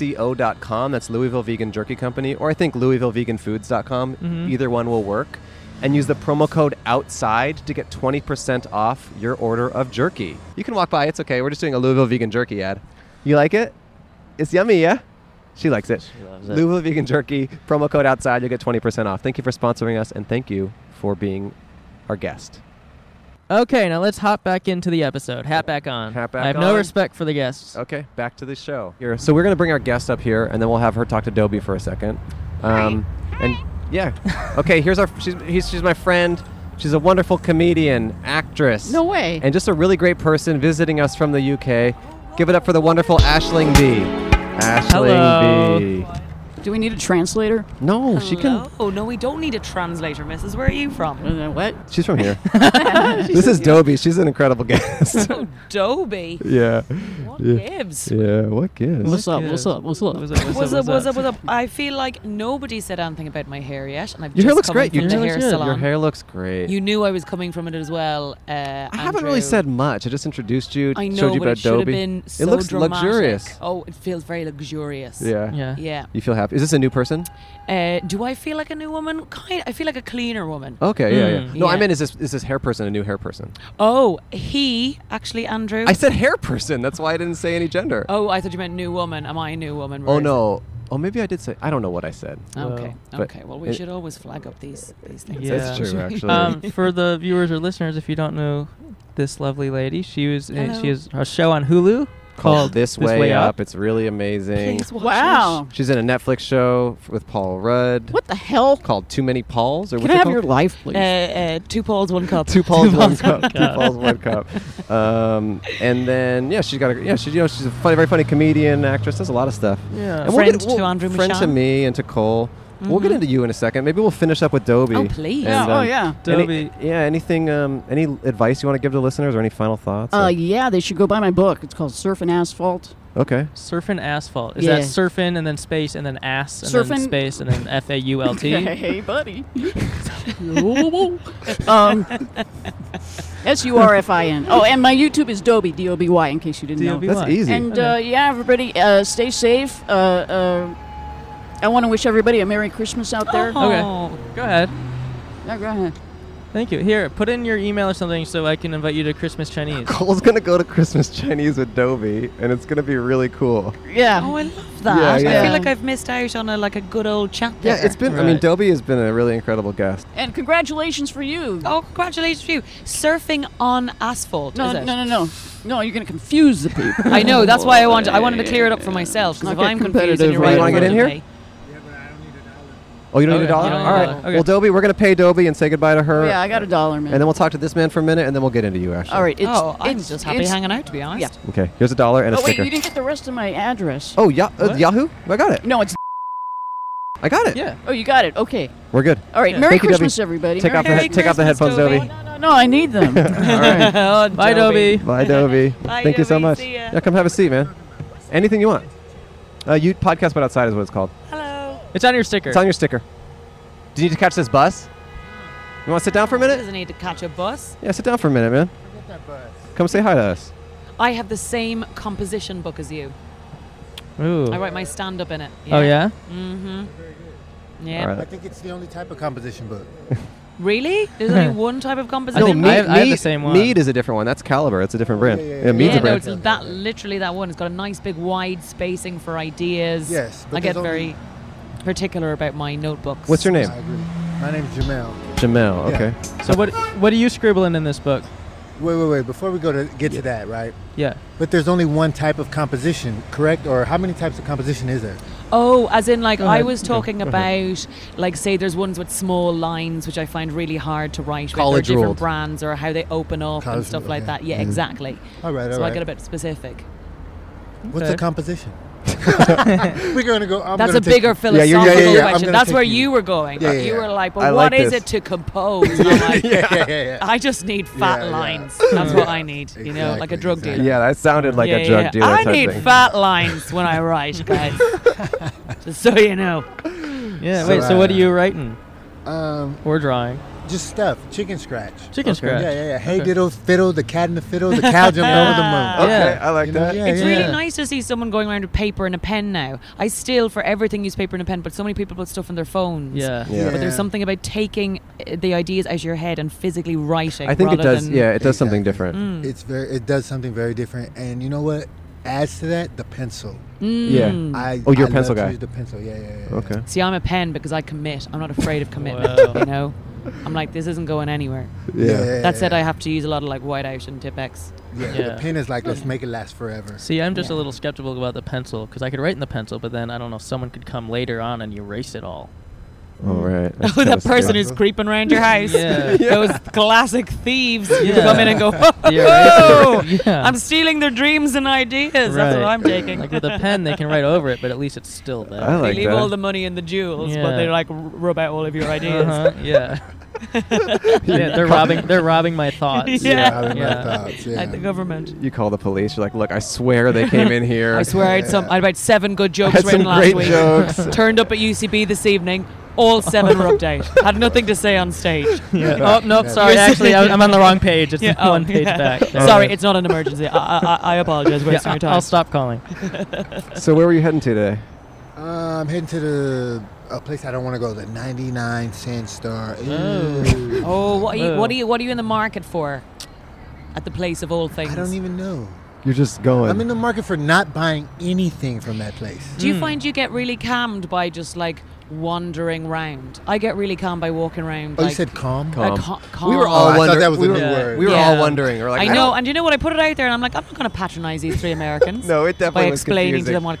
lvjco.com. That's Louisville Vegan Jerky Company, or I think LouisvilleVeganFoods.com. Mm-hmm. Either one will work. And use the promo code outside to get 20% off your order of jerky. You can walk by. It's okay. We're just doing a Louisville Vegan Jerky ad. You like it? It's yummy, yeah? She likes it. She loves it. Louisville Vegan Jerky, promo code outside, you'll get 20% off. Thank you for sponsoring us, and thank you for being our guest. Okay, now let's hop back into the episode. Hat back on. Hat back I have no on. respect for the guests. Okay, back to the show. Here, so we're gonna bring our guest up here, and then we'll have her talk to Dobie for a second. Um, And yeah, okay. Here's our. She's he's, she's my friend. She's a wonderful comedian, actress. No way. And just a really great person visiting us from the UK. Give it up for the wonderful Ashling B. Hello. Ashling Do we need a translator? B. No, she can. Oh no, we don't need a translator, Mrs. Where are you from? Uh, what? She's from here. *laughs* this is Dobie. She's an incredible *laughs* guest. *laughs* Oh, Dobie. yeah. What Yeah. gives? Yeah. What gives? What's up? What's up? What's up? What's up? What's What's up? up? What's up? What's up? I feel like nobody said anything about my hair yet, and I've Your hair just looks come great. From Your the hair hair looks good. salon. Your hair looks great. You knew I was coming from it as well. Uh, I haven't really said much. I just introduced you. I know, showed you but about it should have Adobe. been. So it looks dramatic. luxurious. Oh, it feels very luxurious. Yeah. Yeah. Yeah. You feel happy. Is this a new person? Uh, do I feel like a new woman? Kind. I feel like a cleaner woman. Okay. Yeah. Yeah. Mm. No, I Yeah. meant is this is this hair person a new hair person? Oh, he actually, Andrew. I said hair person. That's why I didn't say any gender. oh, I thought you meant new woman. Am I a new woman? Oh, Where is it? no. Oh, maybe I did say. I don't know what I said. Okay. Um, But okay. Well, we it- should always flag up these these things. Yeah. That's true, actually. Um, for the viewers or listeners, if you don't know this lovely lady, she was in, Hello. she has a show on Hulu called Called This, Way, Up. It's really amazing. Wow. She's in a Netflix show f- with Paul Rudd What the hell? called Too Many Pauls. Or Can what's I it have called? your life, please? Uh, uh, two Pauls, one cup. *laughs* Two *laughs* Pauls, one Pauls, cup. one Two cup. Pauls, one cup. Um, and then yeah, she's got a yeah. She's you know she's a funny, very funny comedian, actress. Does a lot of stuff. yeah. And Friend to Andrew friend to Michon. me and to Cole. We'll get into you in a second. Maybe we'll finish up with Dobie. Oh, please. Yeah, And, oh um, yeah. any- Dobie. yeah. Anything? Um, any advice you want to give to listeners, or any final thoughts? Uh, Or- yeah, they should go buy my book. It's called Surfing Asphalt. okay. Surfing asphalt. Is that Yeah. surfing and then space and then ass and then Surfin- space and then F A U L *laughs* T? Hey, buddy. *laughs* um, S U R F I N. Oh, and my YouTube is Dobie, D O B Y, in case you didn't know. D O B Y. That's want. easy. And uh, yeah, everybody, uh, stay safe. Uh, uh, I want to wish everybody a Merry Christmas out *laughs* there. Okay. Oh. Go ahead. Yeah, go ahead. Thank you. Here, put in your email or something so I can invite you to Christmas Chinese. Cole's gonna go to Christmas Chinese with Dobie, and it's gonna be really cool. Yeah. Oh, I love that. Yeah, I yeah. feel like I've missed out on a, like a good old chat there. Yeah, it's been. I mean, Right. Dobie has been a really incredible guest. And congratulations for you. Oh, congratulations to you. Surfing on asphalt. no, is no, it? no, no. No, you're going to confuse the people. *laughs* I know. That's why I want. I wanted to clear it up for myself because Not if get I'm confused, competitive and you're right. right now. You wanna get in here? okay. Oh, you don't need a dollar. Okay, you don't need All a right. dollar. Okay. Well, Dobie, we're gonna pay Dobie and say goodbye to her. *laughs* yeah, I got a dollar, man. And then we'll talk to this man for a minute, and then we'll get into you, Ashley. All right. It's, oh, I'm it's- just happy it's- hanging out, to be honest. Yeah. Okay. Here's a dollar and a Oh, wait, sticker. you didn't get the rest of my address. oh, ya- uh, What? Yahoo! I got it. No, it's. I got it. Yeah. Oh, you got it. Okay. We're good. All right. Yeah. Merry Thank you, Debbie. Christmas, everybody. Take Merry- off the Merry head- take off the Christmas, headphones, Dobie. Dobie. No, no, no. I need *laughs* them. All right. Oh, Bye, Dobie. Bye, Dobie. Bye, Thank you so Dobie. much. See ya. Yeah, come have a seat, man. Anything you want. Uh, you podcast, but outside is what it's called. Hello. It's on your sticker. It's on your sticker. Do you need to catch this bus? You want to sit down for a minute? Doesn't need to catch a bus. Yeah, sit down for a minute, man. Come say hi to us. I have the same composition book as you. Ooh. I write my stand up in it. Oh yeah. Mm-hmm. All Yeah. right. I think it's the only type of composition book. Really? *laughs* There's only one type of composition. No, book? me- I have- I have the same one. Mead is a different one. That's Caliber. It's a different brand. yeah, Yeah, yeah, Mead's yeah. yeah, a no, brand. it's that literally that one. It's got a nice big wide spacing for ideas. Yes, but I get there's only- very particular about my notebooks. What's your name? I agree. My name's Jamel. Jamel. Yeah. Okay. So what what are you scribbling in this book? Wait, wait, wait. Before we go to get to that, right? Yeah. But there's only one type of composition, correct? Or how many types of composition is there? Oh, as in like Go I ahead. was Go- talking go about like say there's ones with small lines which I find really hard to write. with, or College different ruled. brands or how they open up and College stuff ruled, like yeah. that. Mm. Yeah, exactly. All right, all so I right. get a bit specific. What's Okay. *laughs* a composition? We're gonna go. I'm That's gonna a take bigger you- philosophical yeah, yeah, yeah, I'm question. gonna That's take where you. you were going. Yeah, yeah, you yeah. were like, I "But like what is this. it to compose?" And I'm like, *laughs* yeah, yeah, yeah. *laughs* I just need fat Yeah, yeah. lines. That's what I need. You know, like a Exactly, drug exactly. dealer. Yeah, that sounded like a drug dealer I type need thing. fat lines when *laughs* I write, guys. Just so you know. Yeah. So, wait. So what are uh, you writing Um, or drawing? just stuff. Chicken scratch. Chicken scratch. Yeah, yeah, yeah. Hey, Okay. diddle, fiddle, the cat and the fiddle, the cow *laughs* jumped over the moon. Okay, Yeah. I like You know, yeah, It's yeah. really nice to see someone going around with paper and a pen now. I still, for everything, use paper and a pen, but so many people put stuff on their phones. Yeah. Yeah. But there's something about taking uh, the ideas out of your head and physically writing. I think it rather does. than- Yeah, it does something Exactly. different. Mm. It's very. It does something very different, and you know what? Adds to that the pencil. Mm. Yeah. I. Oh, you're a I pencil love to guy. use the pencil. Yeah, yeah, yeah. yeah. Okay. "Hmm, See, I'm a pen because I commit. I'm not afraid of commitment. Wow. You know, I'm like this isn't going anywhere. Yeah. That said, I have to use a lot of like whiteout and Tipex. Yeah, Yeah. the pen is like let's make it last forever. See, I'm just a Yeah. little skeptical about the pencil because I could write in the pencil, but then I don't know. Someone could come later on and erase it *laughs* all. All right. That's Oh, kinda that person scary. who's creeping around your house. Yeah. *laughs* Those classic thieves who Yeah. come in and go, The eraser. *laughs* yeah. Oh! I'm stealing their dreams and ideas. That's Right. what I'm taking. like with a pen, *laughs* they can write over it, but at least it's still there. I they like leave all the that. money in the jewels, Yeah. but they like r- rub out all of your ideas. *laughs* *laughs* Uh-huh, yeah. yeah, they're robbing. They're robbing my thoughts. *laughs* Yeah. I remember Yeah. thoughts, yeah. At the government. You call the police. You're like, look, I swear they came *laughs* in here. *laughs* I swear I had some. I had about seven good jokes had written some last great week. jokes. *laughs* Turned up at UCB this evening. All seven were update. Had nothing to say *laughs* on stage. Oh nope, sorry. Actually, I- I'm on the wrong page. It's *laughs* Yeah, one oh, page yeah. back. Sorry, it's not an emergency. I, I, I apologize. Yeah, Wasting your time. I'll stop calling. so where were you heading to today? Uh, I'm heading to the a place I don't want to go. The 99 Sand Star. Ooh. Oh, what are you? What Whoa. are you? What are you in the market for? At the place of all things. I don't even know. You're just going. I'm in the market for not buying anything from that place. Hmm. Do you find you get really calmed by just like wandering round. I get really calm by walking around. Oh, you like- said calm? Uh, Calm. Oh, ca- calm. We were all I thought wondering. that was we, a were, new Yeah. word. we were Yeah. all wondering. We're like, "Oh, I know, don't- and you know what? I put it out there, and I'm like, I'm not going to patronize these *laughs* three Americans. No, it definitely by was explaining to confusing. them what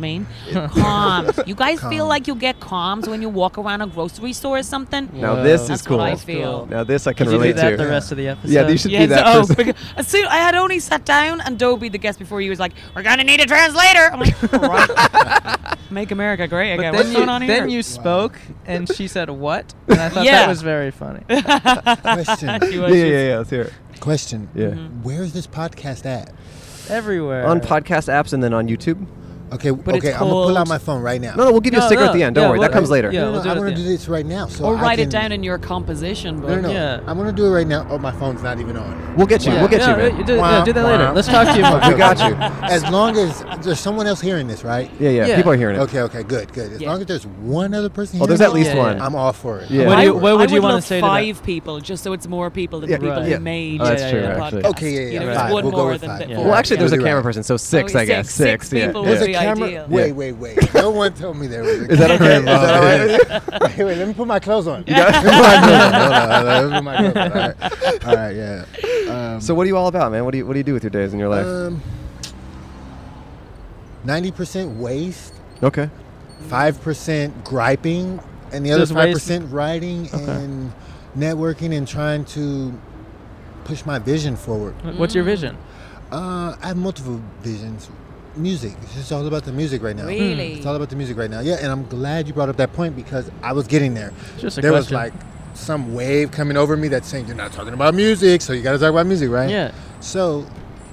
*laughs* mean. calmed. You guys feel Calmed. like you get calms when you walk around a grocery store or something. Now this That's is cool. what I feel. Now this I can Could you do relate that to. the rest of the episode? yeah, you should do that. for oh, *laughs* a second. because, as soon, I had only sat down, and Dobie, the guest before you, was like, "We're gonna need a translator." I'm like, all *laughs* right. "Make America great But again." then What's you, going on here? then you spoke, and she said what? And I thought *laughs* Yeah. that was very funny. *laughs* Question. yeah, yeah, yeah, yeah. Let's hear it. Question. Yeah. Mm-hmm. Where is this podcast at? Everywhere. On podcast apps and then on YouTube. Okay, But it's okay, I'm gonna pull called- out my phone right now. No, no, we'll give you a No, sticker at no, the end. Don't yeah, worry, we'll- that comes later. yeah. we'll do it I at want the to do end. this right now. So or I write it can- down in your composition book. No, no, no. Yeah. I'm gonna do it right now. Oh, my phone's not even on. We'll get you. Yeah. We'll get yeah, you, man. do, yeah, do that later. Let's talk to you more. *laughs* Okay, We got okay. you. *laughs* As long as there's someone else hearing this, right? Yeah, yeah, Yeah. People are hearing it. Okay, okay, good, good. As Yeah. long as there's one other person Oh, hearing there's at this, least Yeah, one. yeah. I'm all for it. Yeah. I'm What do all you- for it. what would I you would wanna love say to that? five people, just so it's more people than Yeah, the people yeah. who made Oh, that's the true, podcast. actually. Okay, yeah, You know, yeah, there's five. one We'll go more with than five. the Yeah. four. Well, actually, Yeah. there's a You're camera right. person, so six, Oh, I guess. six. Six. Six yeah, people yeah. was There's *laughs* a the camera. ideal. Wait, wait, wait. No one told me there was a Is that okay? Is that all right? *laughs* *laughs* with you? Wait, wait, let me put my clothes on. *laughs* Let me put my clothes on. Hold on, hold on, let me put my clothes on. All right. All right, yeah. *laughs* Um, So what are you all about, man? What do you what do you do with your days and your life? um, 90% waste, okay. 5% griping, and the other Does waste- 5% writing and networking and trying to push my vision forward. What's your vision? Uh, I have multiple visions. Music. It's just all about the music right now. Really? It's all about the music right now. Yeah, and I'm glad you brought up that point because I was getting there. Just a there was question. like some wave coming over me that's saying you're not talking about music, so you got to talk about music, right? Yeah. So,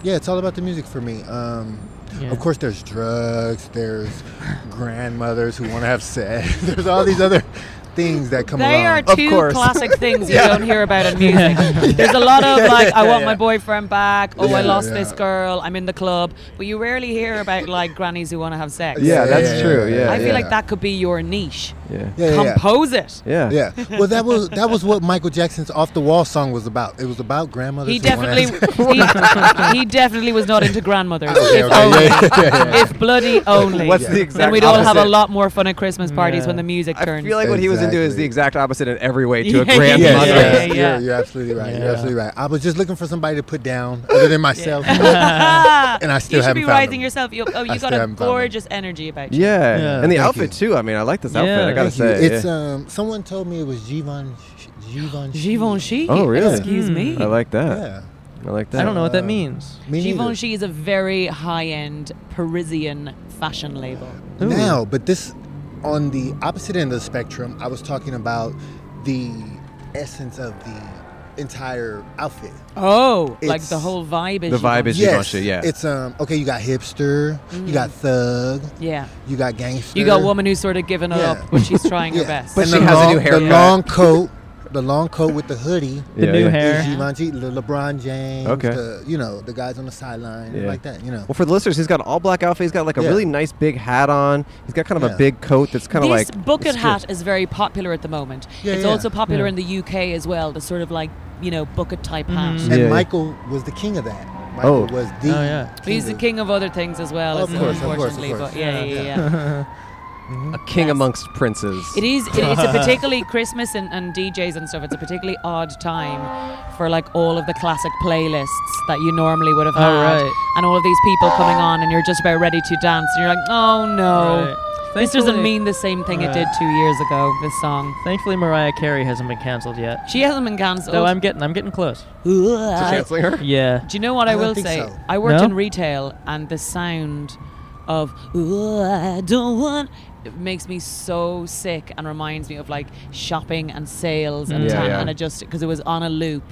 yeah, it's all about the music for me. Um, Yeah. Of course, there's drugs. There's grandmothers who want to have sex. *laughs* there's all these other things that come They along. are Of two course. *laughs* classic things you don't hear about in music. There's a lot of like, I want my boyfriend back. Oh, I Yeah, lost yeah. this girl. I'm in the club. But you rarely hear about like grannies who want to have sex. *laughs* Yeah, that's true, yeah, I feel yeah. like that could be your niche. Yeah. Yeah, yeah, yeah. Compose it. Yeah. Yeah. Well, that was that was what Michael Jackson's "Off the Wall" song was about. It was about grandmothers. He who wanna definitely, *laughs* have- he, *laughs* he definitely was not into grandmothers. Okay, if, okay, only, yeah, yeah, yeah, yeah. if bloody only. What's the then exact we'd all have a opposite? lot more fun at Christmas parties Yeah. when the music I turns. feel *laughs* *laughs* like what he was into is the Exactly. exact opposite in every way to a Yeah, yeah, grandmother. Yes, Yeah, yes, yeah, yeah. You're, you're absolutely right. Yeah. You're absolutely right. I was just looking for somebody to put down other than myself, and I still you should haven't be found rising them. yourself. You, oh, I you still got a haven't found them. gorgeous energy about you. Yeah. Yeah. and the Thank outfit too. I mean, I like this outfit. Yeah. I gotta Thank Thank say, you. It's yeah. um. Someone told me it was Givenchy. Givenchy. Givenchy. Oh, really? Excuse me. I like that. um, Yeah. I like that. I don't know what that Uh, means. Me neither. Givenchy is a very high-end Parisian fashion label. Ooh. Now, but this on the opposite end of the spectrum, I was talking about the essence of the entire outfit. Oh, like It's- the whole vibe is The vibe is Givenchy. Yes, Givenchy, yeah. It's um okay. You got hipster. You got thug. yeah. You got gangster. Mm. You got a woman who's sort of given Yeah. up, but she's trying her *laughs* Yeah. best. But And she the has a long, new The haircut. long coat, the long coat with the hoodie. The Yeah, yeah. new Is hair. Givenchy, Le- LeBron James, Okay. the, you know the guys on the sideline Yeah. like that, you know. Well, for the listeners, he's got an all black outfit. He's got like a Yeah. really nice big hat on. He's got kind of a Yeah. big coat that's kind of this like bucket it's cool. hat is very popular at the moment. Yeah, it's yeah. also popular Yeah. in the UK as well. The sort of like you know bucket type Mhm. hat. And Yeah. Michael was the king of that. Oh. Michael was the. Oh, yeah. But He's the of- king of other things as well. Of isn't he, course, of course, of unfortunately, course. but yeah, yeah, Yeah, yeah. yeah. a king amongst princes. It is. It, it's a particularly Christmas and, and DJs and stuff. It's a particularly odd time for like all of the classic playlists that you normally would have Oh, had, right. and all of these people coming on, and you're just about ready to dance, and you're like, oh no, Right. this doesn't Thankfully- mean the same thing it Right. did two years ago. This song. Thankfully, Mariah Carey hasn't been canceled yet. She hasn't been cancelled. Though I'm getting, I'm getting *laughs* close. Ugh. Canceling her? Yeah. Do you know what I, I don't will think say? so. I worked No? in retail, and the sound of "Ooh, I don't want it makes me so sick and reminds me of like shopping and sales and, Mm. ta- Yeah, yeah. and it just because it was on a loop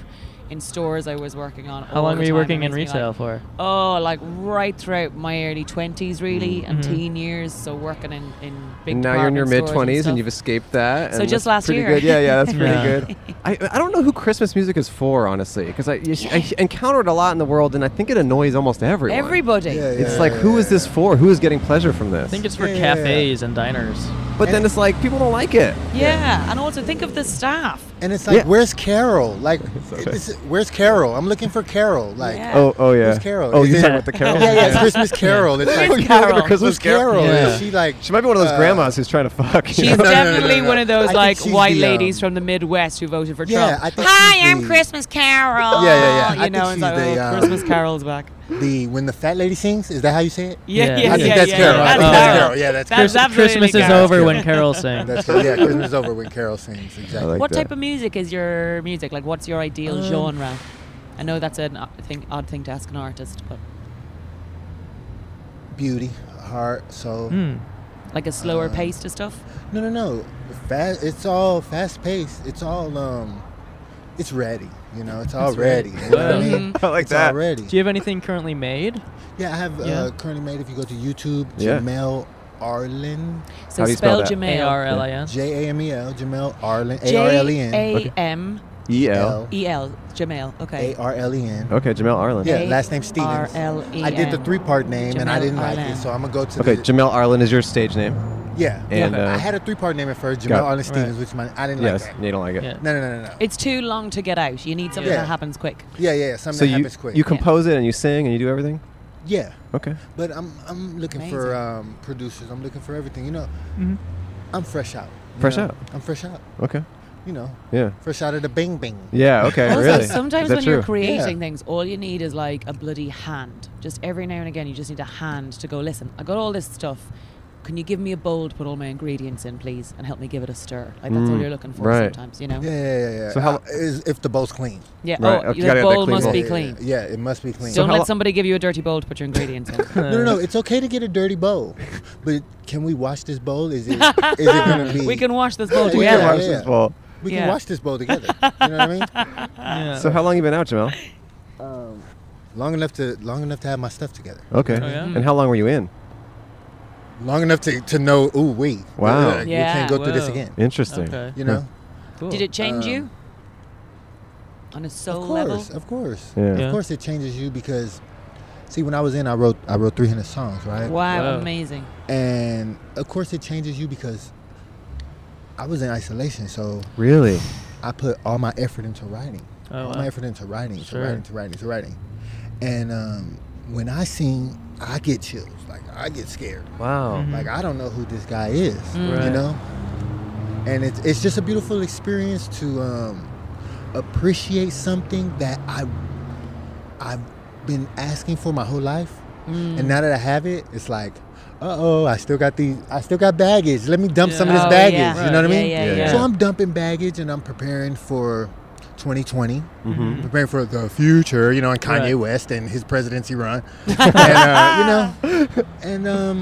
in stores I was working on. How long were you working in retail Like, for? oh, like right throughout my early twenties, really, and Mhm. teen years. So working in in big. And now you're in your mid department stores and twenties and, stuff. you've escaped that. So and just that's last pretty year. good. Yeah, *laughs* yeah, that's pretty Yeah. good. I, I don't know who Christmas music is for, honestly, because I, you s- I encounter it a lot in the world, and I think it annoys almost everyone. everybody. Yeah, yeah, It's like, who is this for? Who is getting pleasure from this? I think it's for Yeah, yeah, yeah. cafes and diners. but then it's like people don't like it. Yeah, and also think of the staff. And it's like, Yeah. where's Carol? *laughs* Like, okay. this is- where's Carol? I'm looking for Carol. Like, Yeah. Oh, oh yeah. where's Carol? Oh, Is you it- talking *laughs* about the Carol? yeah, yeah, it's Christmas Carol. It's Oh, like, you remember Carol. Christmas where's Carol? Carol? Yeah. Is she like, She might be one of those uh, grandmas who's trying to fuck. you She's know? *laughs* no, no, no, definitely no. one of those I think like she's white the, ladies um, from the Midwest who voted for Yeah, Trump. I think she's Hi, I'm the- Christmas Carol. Yeah, yeah, yeah. I you know, think it's like, she's the, oh, uh, Christmas Carol's back. The when the fat lady sings, is that how you say it? Yeah, Yeah. *laughs* yeah, I yeah. I think yeah, that's yeah, Carol. I That's think that's Carol. Carol. Yeah, that's That's Christmas. absolutely Christmas is Carol. over when Carol sings. *laughs* That's Carol. Yeah, Christmas is over when Carol sings. I Exactly. like What that. type of music is your music? Like, what's your ideal Um, genre? I know that's an odd thing, odd thing to ask an artist, but Beauty, heart, soul. Hmm. like a slower Uh, pace to stuff. No, no, no. Fast. It's all fast paced. It's all um, it's ready. You know, it's all ready. You know what I mean? *laughs* I like It's that. all ready. Do you have anything currently made? Yeah, I have Yeah. Uh, currently made. If you go to YouTube, Yeah. Jamel Arlen, So How do you spell spell that? A Jamel. R L I S. J A M E L, Jamel Arlen, A R L E N, J A M E L. L E L. Jamel. Okay. A R L E N. Okay, Jamel Arlen. Yeah, A last name Stevens. R.L.E.N.. I did the three part name and I Jamel didn't like Arlen. it, so I'm gonna go to Okay, the Jamel Arlen is your stage name, yeah. and Okay. uh, I had a three part name at first, Got Jamel it. Arlen Stevens, which my I didn't yes, like. That. you don't like it. Yeah. No, no, no, no, no. It's too long to get out. You need something Yeah. that happens quick. Yeah, yeah, yeah. Something So that you happens quick. you compose it and you sing and you do everything. yeah, Okay. but I'm I'm looking for um, producers. I'm looking for everything. You know, I'm fresh out. you Mm-hmm. Fresh know? out. I'm fresh out. Okay. You know, Yeah. fresh out of the Bing Bing. Yeah. Okay. Also, really. Is sometimes that when true? you're creating Yeah. things, all you need is like a bloody hand. Just every now and again, you just need a hand to go, listen, I got all this stuff. Can you give me a bowl to put all my ingredients in, please, and help me give it a stir? Like, that's all Mm, you're looking for right. sometimes, you know? Yeah, yeah, yeah. yeah. So how- Uh, is if the bowl's clean? Yeah, Right, oh, okay, gotta the have that bowl clean must bowl. be yeah, yeah, clean. Yeah, yeah, it must be clean. Don't how lo- let somebody give you a dirty bowl to put your *laughs* ingredients in. no, no, no. It's okay to get a dirty bowl, but can we wash this bowl? Is it is it gonna be? *laughs* we can wash this bowl Yeah, together. yeah. This ball. we yeah. can wash this bowl together. You know what I mean? *laughs* Yeah. So how long you been out, Jamel? Long enough to long enough to have my stuff together. Okay. Oh, yeah? And how long were you in? Long enough to, to know. Ooh, we. Wow. we Yeah. can't go through this Whoa. again. Interesting. okay. You know. Cool. Did it change Um, you? On a soul Uh, Of level? course, of course, Yeah. Yeah. of course. It changes you because, see, when I was in, I wrote I wrote 300 songs, right? Wow, Wow. amazing. And of course, it changes you because I was in isolation, so Really? I put all my effort into writing, Oh, all wow. my effort into writing, Sure. to writing, to writing, to writing. And um, when I sing, I get chills, like I get scared, Wow. Mm-hmm. like I don't know who this guy is, Right. you know. And it's it's just a beautiful experience to um, appreciate something that I I've been asking for my whole life, Mm. and now that I have it, it's like, uh oh, I still got these, I still got baggage. Let me dump some of this Oh, baggage. yeah. You know what I Yeah, mean? yeah, Yeah. yeah. So I'm dumping baggage, and I'm preparing for 2020, Mm-hmm. preparing for the future. You know, and Kanye Right. West and his presidency *laughs* run, and uh, you know, and um,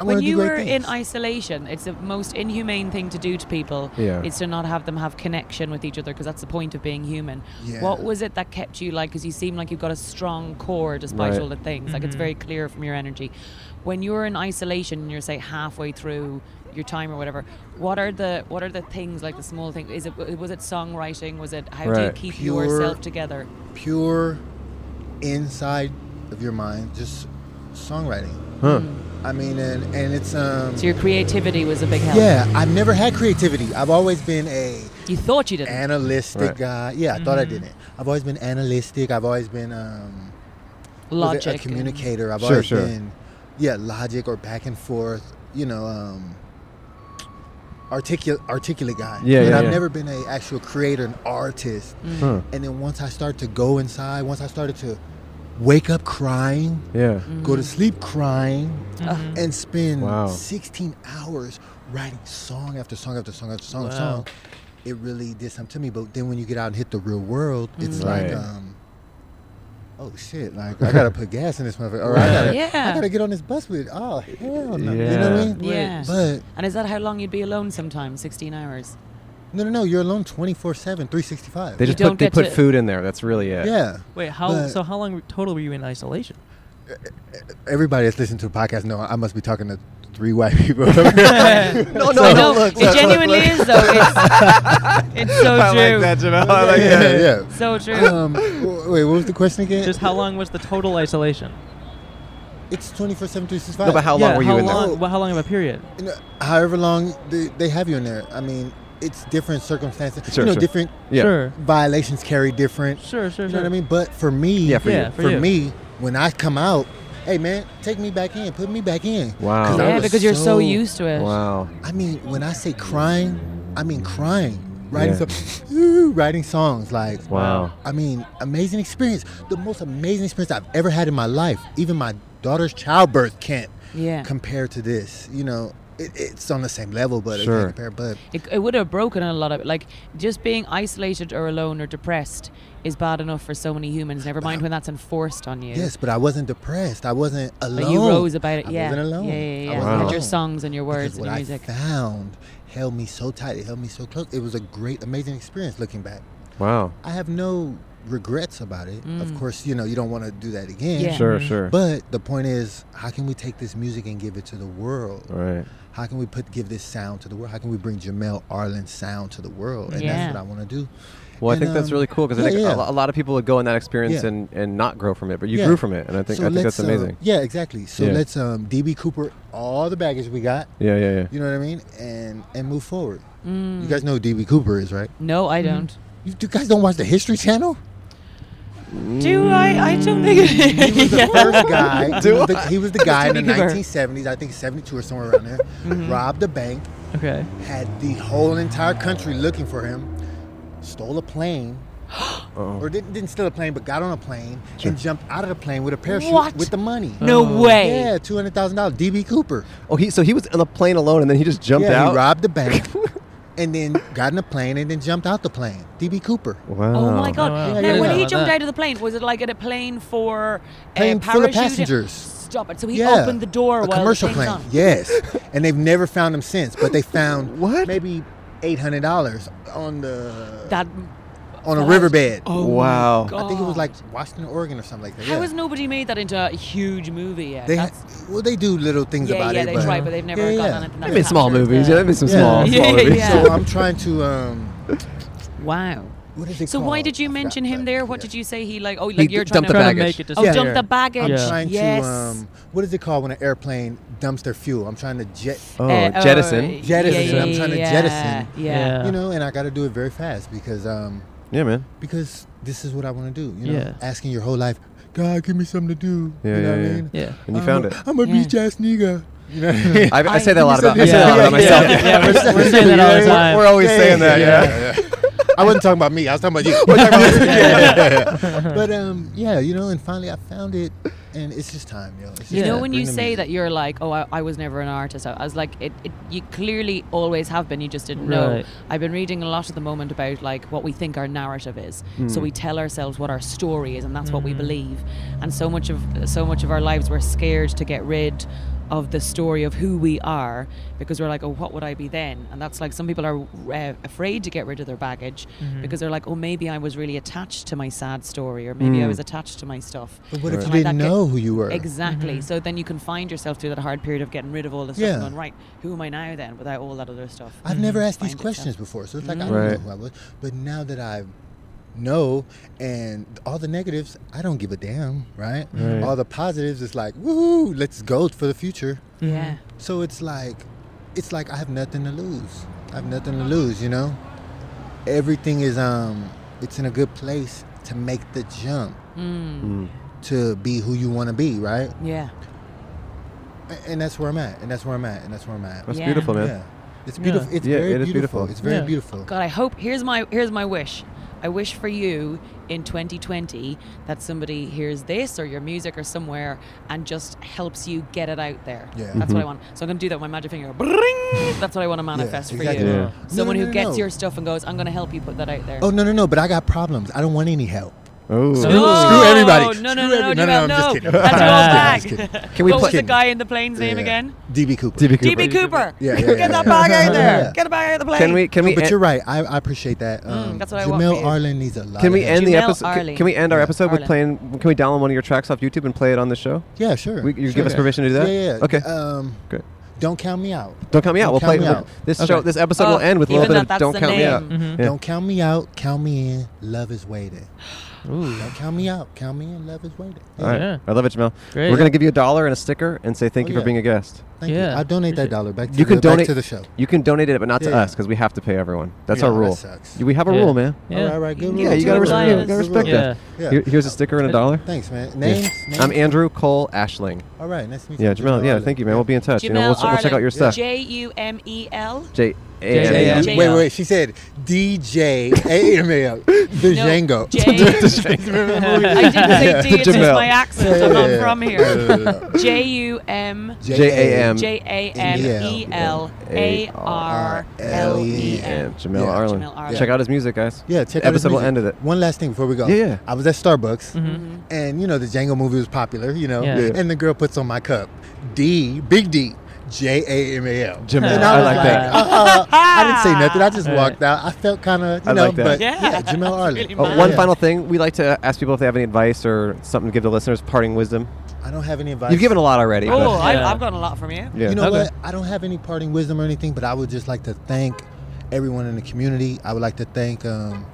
I want when to do you great were things. in isolation, it's the most inhumane thing to do to people. Yeah. Is to not have them have connection with each other because that's the point of being human. Yeah. What was it that kept you like? Because you seem like you've got a strong core despite Right. all the things. Like Mm-hmm. it's very clear from your energy. When you're in isolation and you're say halfway through your time or whatever, what are the what are the things like the small thing? Is it was it songwriting? Was it how do you Right. keep Pure- yourself together? pure inside of your mind, just songwriting. Mm-hmm. Huh. I mean, and and it's um. So your creativity was a big help. Yeah, I've never had creativity. I've always been a You thought you didn't. analytic Right. guy. Yeah, I thought I Mm-hmm. didn't. I've always been analytic. I've always been um, was Logic. it a communicator. I've Sure, always sure. been yeah, logic or back and forth. You know, um, articulate articulate guy. Yeah, and yeah, I've yeah. never been a actual creator, an artist. Huh. And then once I started to go inside, once I started to wake up crying, Yeah. go to sleep crying, Mm-hmm. and spend Wow. 16 hours writing song after song after song after song after Wow. song, it really did something to me. But then when you get out and hit the real world, it's Right. like, um, oh shit, like I gotta put gas in this motherfucker, or I gotta, Yeah. I gotta get on this bus with. Oh hell no, you Yeah. know what I mean? Yeah. But And is that how long you'd be alone sometimes? 16 hours. no, no, no, you're alone 24 7, 365. They just don't put they get put to- food in there. That's really it. yeah, Wait, how But- so? How long total were you in isolation? everybody that's listening to the podcast know I must be talking to three white *laughs* people. No, no, I no, know. look, it look, genuinely look, is, though. *laughs* It's, it's so I true. like that, Jamel. I like that. *laughs* yeah, So true. yeah. Um, w- wait, what was the question again? Just how long was the total isolation? It's 24 7, 365. No, but how long yeah, were you how in long, there? uh, wha- How long of a period? You know, however long they, they have you in there. I mean, it's different circumstances. Sure, you know, sure. different Yeah. Sure. violations carry different. Sure, sure, You know sure. what I mean? But for me, Yeah, for you. Yeah, for for you. me, when I come out, hey man, take me back in, put me back in. Wow. 'Cause I yeah, was because you're so used to it. Wow. I mean, when I say crying, I mean crying. Writing Yeah. some, writing songs like Wow. I mean, amazing experience. The most amazing experience I've ever had in my life. Even my daughter's childbirth camp Yeah. compared to this. You know, it, it's on the same level, but Sure. it can't compare. But It, it would have broken a lot of like just being isolated or alone or depressed is bad enough for so many humans. Never mind when that's enforced on you. yes, but I wasn't depressed. I wasn't alone. But you rose about it. I yeah. wasn't alone. Yeah, yeah, yeah. yeah. I wasn't You had alone. your songs and your words Because and what your music. I found held me so tight. It held me so close. It was a great, amazing experience. Looking back, Wow. I have no regrets about it. Of course, you know you don't want to do that again. Mm. Yeah. Sure, sure. Mm-hmm. But the point is, how can we take this music and give it to the world? Right. How can we put give this sound to the world? How can we bring Jamel Arlen's sound to the world? And Yeah. that's what I want to do. Well, I And, think that's um, really cool because I yeah, think a yeah. lo- a lot of people would go in that experience Yeah. and, and not grow from it, but you Yeah. grew from it, and I think So I think let's, that's amazing. Uh, yeah, exactly. So Yeah. let's um, DB Cooper all the baggage we got. yeah, yeah, yeah. You know what I mean? And and move forward. You guys know who DB Cooper is, right? No, I don't. You, you guys don't watch the History Channel? Mm. Do I? I don't think *laughs* it He was is. the first guy. he, was the, he was the guy in the DB Cooper. 1970s, I think 72 or somewhere around there. Robbed a bank, Okay. had the whole entire country looking for him, stole a plane, or didn't, didn't steal a plane, but got on a plane and jumped out of the plane with a parachute What? with the money. Oh. No way. Yeah, two hundred thousand dollars. DB Cooper. Oh, he so he was on a plane alone, and then he just jumped yeah, out. he robbed the bank, and then got in a plane and then jumped out the plane. DB Cooper. Wow. Oh my god! wow. Yeah, Now, yeah, when yeah. he About jumped that. out of the plane, was it like in a plane for Plane uh, full of parachuting? passengers. Stop it! So he Yeah. opened the door A while commercial the plane. plane's on. Yes, and they've never found him since. But they found What? Maybe eight hundred dollars on the That on a riverbed. oh my Wow. God. I think it was like Washington, Oregon, or something like that. How Yeah. has nobody made that into a huge movie yet? they ha- That's- well, they do little things yeah, about yeah, it. they but, try, but they've never Yeah, gotten yeah. on it. and They that made small captures movies. the- Yeah, they made some Yeah. small, Yeah, small movies. yeah. So I'm trying to. Um, Wow. what is it So called? why did you I forgot, mention him but- there? What yeah. did you say? He like oh like d- you're trying dumped to the Trying to baggage. make it oh disappear. dump the baggage. I'm Yeah. trying yes. to. Um, what is it called when an airplane dumps their fuel? I'm trying to jet. Oh, Uh, oh, jettison. yeah, Jettison, yeah, I'm trying to yeah, jettison. Yeah. You know, and I got to do it very fast because um Yeah, man. because this is what I want to do. You know, Yeah. asking your whole life, God, give me something to do. Yeah, you know yeah, what yeah. I mean? Yeah. And you found I'm it. A, I'm a Yeah. beach ass nigga. You know. what Um, I mean? *laughs* I, I say that a lot about. I say that a lot about myself. Yeah, yeah, we're, *laughs* we're saying that all the time. We're always saying that. Yeah. I wasn't talking about me. I was talking about *laughs* you. *laughs* But um, yeah, you know, and finally I found it, and it's just time, yo. It's just You know time. when Bring you the say music. that you're like, oh, I, I was never an artist. I I was like, it, it. You clearly always have been. You just didn't know. Right. I've been reading a lot at the moment about like what we think our narrative is. Hmm. So we tell ourselves what our story is, and that's what we believe. And so much of so much of our lives, we're scared to get rid of the story of who we are because we're like, oh, what would I be then? And that's like some people are uh, afraid to get rid of their baggage Mm-hmm. because they're like, oh, maybe I was really attached to my sad story, or maybe I Hmm. was attached to my stuff. But what if And like you didn't that get- know who you were? Exactly. Mm-hmm. So then you can find yourself through that hard period of getting rid of all the stuff Yeah. and going, right, who am I now then without all that other stuff? I've never asked these Mm. Find questions itself. before, so it's like I don't know Mm. Right. who I was. But now that I know and all the negatives, I don't give a damn, right? All the positives, it's like woohoo, let's go for the future. Yeah. So it's like, it's like I have nothing to lose. I have nothing to lose, you know. Everything is um, it's in a good place to make the jump Mm. to be who you want to be, right? Yeah. A- And that's where I'm at. And that's where I'm at. And that's where I'm at. That's Yeah. beautiful, man. Yeah, it's beautiful. It's Yeah, very it is beautiful. beautiful. It's very Yeah. beautiful. God, I hope here's my here's my wish. I wish for you in 2020 that somebody hears this or your music or somewhere and just helps you get it out there. Yeah. That's what I want. So I'm gonna do that with my magic finger. Bring! That's what I want to manifest for exactly. you. Yeah. No, Someone no, who no, gets no. your stuff and goes, I'm gonna help you put that out there. Oh no no no! But I got problems. I don't want any help. Oh. No, Screw everybody. No, no, no, Screw no, every- no, no, no, no, no, I'm just kidding. *laughs* That's Just your kidding. *laughs* old Just bag. Can we what was play- the guy in the plane's name Yeah. again? DB Cooper. DB Cooper. DB Cooper. Yeah, yeah, Get yeah, that yeah. bag out there. Yeah. Get the bag out of the plane. Can we? Can No, we? e- but en- you're right. I, I appreciate that. Um, Mm, that's what I want Jamel for you. Arlen needs a lot. Can of we help. end the Jamel episode? Arling. Can we end our episode with Arling. playing? Can we download one of your tracks off YouTube and play it on the show? Yeah, sure. We, you sure. give us permission to do that? Yeah, yeah. Okay. Um, Great. Don't count me out. don't count me out. We'll Don't play count me we'll- out. this show. This episode will Oh, end with a even little bit though of "Don't that's Mm-hmm. the Count Me Out." name. Yeah. Don't count me out. Count me in. Love is waiting. Ooh. Don't count me out. Count me in. Love is waiting. All right. Yeah. I love it, Jamel. Great. We're going to give you a dollar and a sticker and say thank Oh, you for yeah. being a guest. Thank Yeah, you. I'll appreciate donate it. that dollar back to, you can the, donate back to the show. You can donate it, but not to Yeah. us because we have to pay everyone. That's Yeah, our that rule. sucks. We have a Yeah. rule, man. All Yeah. right, right, good You Yeah, rule, you gotta good respect, you rule, gotta good respect rule. Yeah. that. Here- here's a sticker and a dollar. Thanks, man. Yeah. Names? I'm names? Andrew Cole Ashling. All right, nice to meet you. Yeah, Jamel. Yeah, thank you, man. We'll be in touch. you know, we'll, Jamel ch- we'll check out your stuff. J U M E *laughs* L. J J- A- Wait, J- wait, wait. She said DJ AML, the *laughs* No, *laughs* *laughs* Django. J. *laughs* I didn't say D. It's just Jamel. my accent. I'm Yeah. not *laughs* from here. No, no, no, no. J U M J A M. J A M E L A R L E and M. Jamel Yeah. Arlen. Jamel Arlen. Check out his music, guys. Yeah, check out his Episode will music. end with it. One last thing before we go. Yeah, yeah. I was at Starbucks, Mm-hmm. Mhm. and you know the Django movie was popular, you know, Yeah. Yeah. and the girl puts on my cup D, big D, J A M A L. Jamel. And I was like that. Uh, uh, *laughs* I didn't say *laughs* nothing. I just Right. walked out. I felt kind of, you I know, like that. but Yeah, yeah, Jamel Arlen. really Oh, Yeah. one Yeah. final thing. We like to ask people if they have any advice or something to give the listeners, parting wisdom. I don't have any advice. You've given a lot already. but- Oh, I- Yeah. I've gotten a lot from you. yeah. You know Okay. what? I don't have any parting wisdom or anything, but I would just like to thank everyone in the community. I would like to thank um,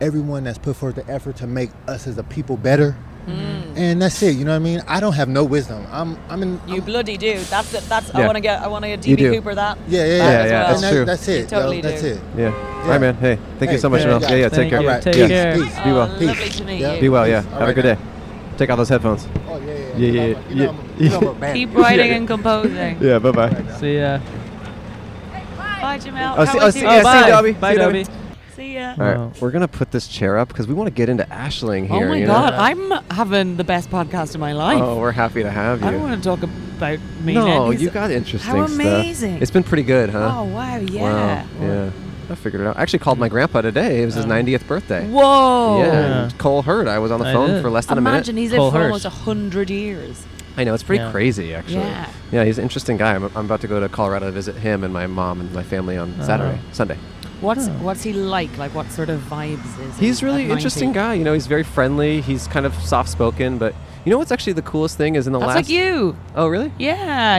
everyone that's put forth the effort to make us as a people better. Mm. And that's it. You know what I mean? I don't have no wisdom. I'm. I'm in. You bloody do. That's it. That's. Yeah. I want to get. I want to get You DB do. Cooper that. yeah, yeah, yeah. That as Yeah, yeah, well. that's And true. That's You it. totally yo, that's do. it. Yeah. All right, man. Hey, thank you Hey, so much, yeah, Jamel. guys, Yeah, yeah. Take thank care. you. All right. Take peace, care. Peace. Be well. Oh, Peace. Lovely to meet Yeah. you. Be well. Yeah. All Have a right, good now. day. Take off those headphones. Oh yeah, yeah. Yeah, yeah, You know I'm a- you know I'm a- you know I'm a bandit. Keep writing and composing. Yeah. Bye bye. See uh, ya. Bye, Jamel. Oh, How see- was oh, you? see- yeah, bye. Dobby. Bye, See you, Dobby. See ya. All Wow. right. We're gonna put this chair up because we want to get into Ashling here. Oh my you know? God, I'm having the best podcast of my life. Oh, we're happy to have you. I don't want to talk about me. no, and you his- got interesting How stuff. amazing. It's been pretty good, huh? Oh wow, Wow. yeah. uh, Yeah. I figured it out. I actually called my grandpa today. It was his 90th birthday. Oh. Whoa. Yeah, Yeah. Cole heard. I was on the I phone did. for less than a Imagine minute. he's lived Cole for Hirsch. almost hundred years. I know it's pretty Yeah. crazy, actually. Yeah. Yeah, he's an interesting guy. I'm, I'm about to go to Colorado to visit him and my mom and my family on Saturday, Sunday. What's what's he like? Like what sort of vibes is? he He's at really 90? interesting guy. You know, he's very friendly. He's kind of soft spoken, but you know what's actually the coolest thing is in the That's last. like you. Oh, really? Yeah,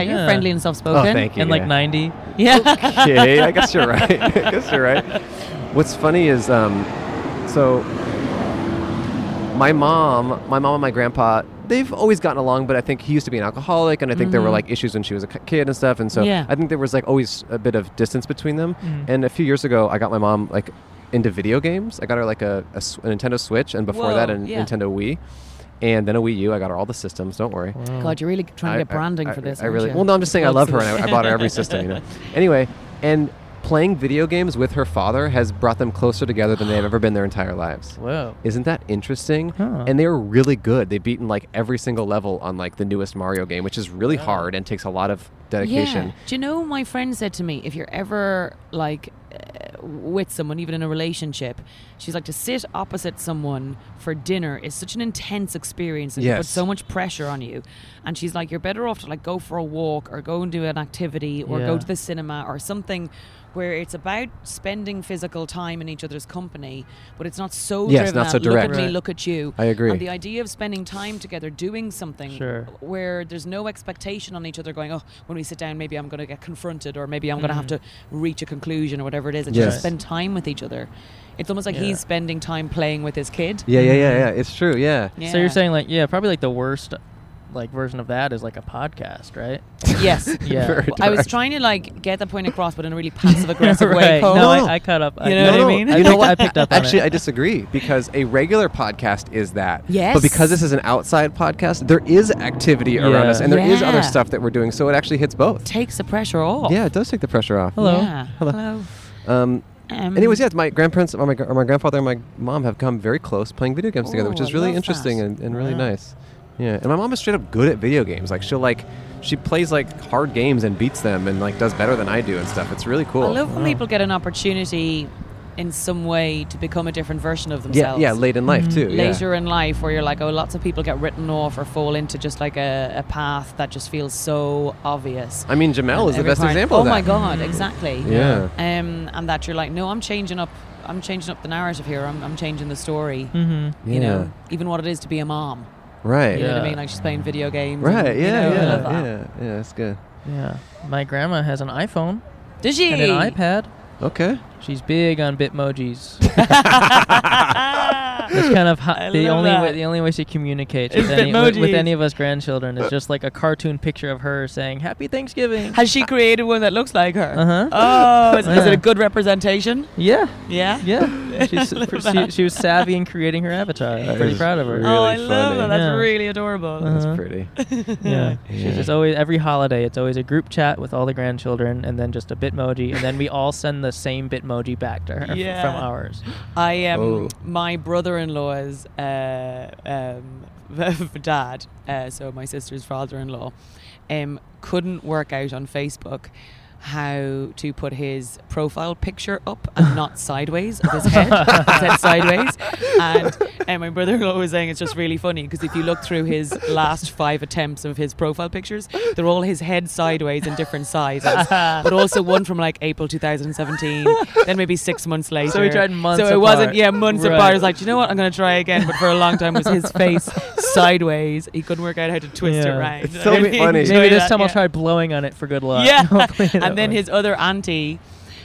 Yeah. you're friendly and soft Oh, spoken. thank you. And like yeah. 90. Yeah. okay, I guess you're right. *laughs* I guess you're right. What's funny is, um, so my mom, my mom and my grandpa, they've always gotten along, but I think he used to be an alcoholic, and I think there were like issues when she was a k- kid and stuff, and so Mm-hmm. Yeah. Mm-hmm. I think there was like always a bit of distance between them. And a few years ago, I got my mom like into video games. I got her like a, a s- a Nintendo Switch, and before that, a Whoa, yeah. Nintendo Wii. And then a Wii U. I got her all the systems. Don't worry. *laughs* God, you're really trying to get I- I- branding I- for this. I aren't really. you? Well, no, I'm just saying I Lots love of her and I, I bought her every system. You *laughs* know. Anyway, and playing video games with her father has brought them closer together than they've ever been their entire lives. Whoa. Isn't that interesting? Huh. And they were really good. They've beaten like every single level on like the newest Mario game, which is really hard and takes a lot of dedication. Yeah. Do you know my friend said to me, if you're ever like uh, with someone, even in a relationship, she's like to sit opposite someone for dinner is such an intense experience and you put Yes. so much pressure on you. And she's like, you're better off to like go for a walk or go and do an activity or Yeah. go to the cinema or something. Where it's about spending physical time in each other's company, but it's not so Yeah, it's driven not so out, look at direct. me, Right. look at you. I agree. And the idea of spending time together doing something Sure. where there's no expectation on each other going oh when we sit down maybe i'm going to get confronted or maybe i'm going to have to Mm. reach a conclusion or whatever it is and Yes. just spend time with each other it's almost like he's spending time playing with his kid Yeah, yeah, yeah, yeah. It's true. Yeah. Yeah. So you're saying like yeah, probably like the worst like version of that is like a podcast, right? *laughs* yes Yeah. *laughs* Very Well, i was trying to like get the point across but in a really *laughs* passive aggressive way Right. Cole. No, No, no. I, I caught up. I, You know no, what I no, mean? I You know picked- what? I *laughs* picked up on Actually, it. I disagree because a regular podcast is that. Yes. But because this is an outside podcast, there is activity around Yeah. us and there is other Yeah. stuff that we're doing, so it actually hits both. takes the pressure off Yeah, it does take the pressure off. Hello. Yeah. Hello. hello Um, um, anyways, yeah, my grandparents, or my, gr- or my grandfather and my mom have come very close playing video games together, Oh, which is I really love interesting that. and, and really Wow. nice. Yeah, and my mom is straight up good at video games. Like she'll like, she plays like hard games and beats them and like does better than I do and stuff. It's really cool. i love when people get an opportunity in some way to become a different version of yeah, themselves Mm-hmm. yeah, late in life too. yeah. later in life where you're like, oh, lots of people get written off or fall into just like a, a path that just feels so obvious. I mean, Jamel is the Every best part- example Oh of that. my God, exactly. Yeah. Um, and that you're like, no, I'm changing up. I'm changing up the narrative here. I'm, I'm changing the story. Mm-hmm. You know, even what it is to be a mom. Right. You know what Yeah. I mean? Like she's playing video games. and, Right. you Yeah. know, I yeah. love that. Yeah. Yeah. That's good. Yeah. My grandma has an iPhone Does she? and an iPad. Okay. *laughs* She's big on Bitmojis. That's kind of ho- the love only way, that. the only way she communicates It's with any, with, with emojis. any of us grandchildren is just like a cartoon picture of her saying "Happy Thanksgiving." Has she created one that looks like her? Uh-huh. Oh, is, is it Yeah. a good representation? Yeah, Yeah. *laughs* yeah. She's, love pr- she, that. she was savvy in creating her avatar. I'm pretty is proud of her. really oh, I love funny. that. That's Yeah. really adorable. Uh-huh. That's pretty. Yeah. Yeah. She's just always every holiday. It's always a group chat with all the grandchildren, and then just a Bitmoji, and then we all send the same Bitmoji back to her f- *laughs* Yeah. from ours. I um, Oh. my brother-in-law's uh, um, *laughs* dad, uh, so my sister's father-in-law, um, couldn't work out on Facebook how to put his profile picture up and not sideways of his head. It said sideways, and, and my brother-in-law was saying it's just really funny because if you look through his last five attempts of his profile pictures, they're all his head sideways in different sizes, but also one from like April 2017, then maybe six months later. So we tried months So it wasn't apart. yeah months Right. apart. It was like, do you know what? I'm gonna try again. But for a long time, it was *laughs* his face sideways. He couldn't work out how to twist Yeah. it around. It's *laughs* so I really funny. enjoyed Maybe this that, time I'll yeah. try blowing on it for good luck. *laughs* *laughs* Yeah. Hopefully that and then works. his other auntie,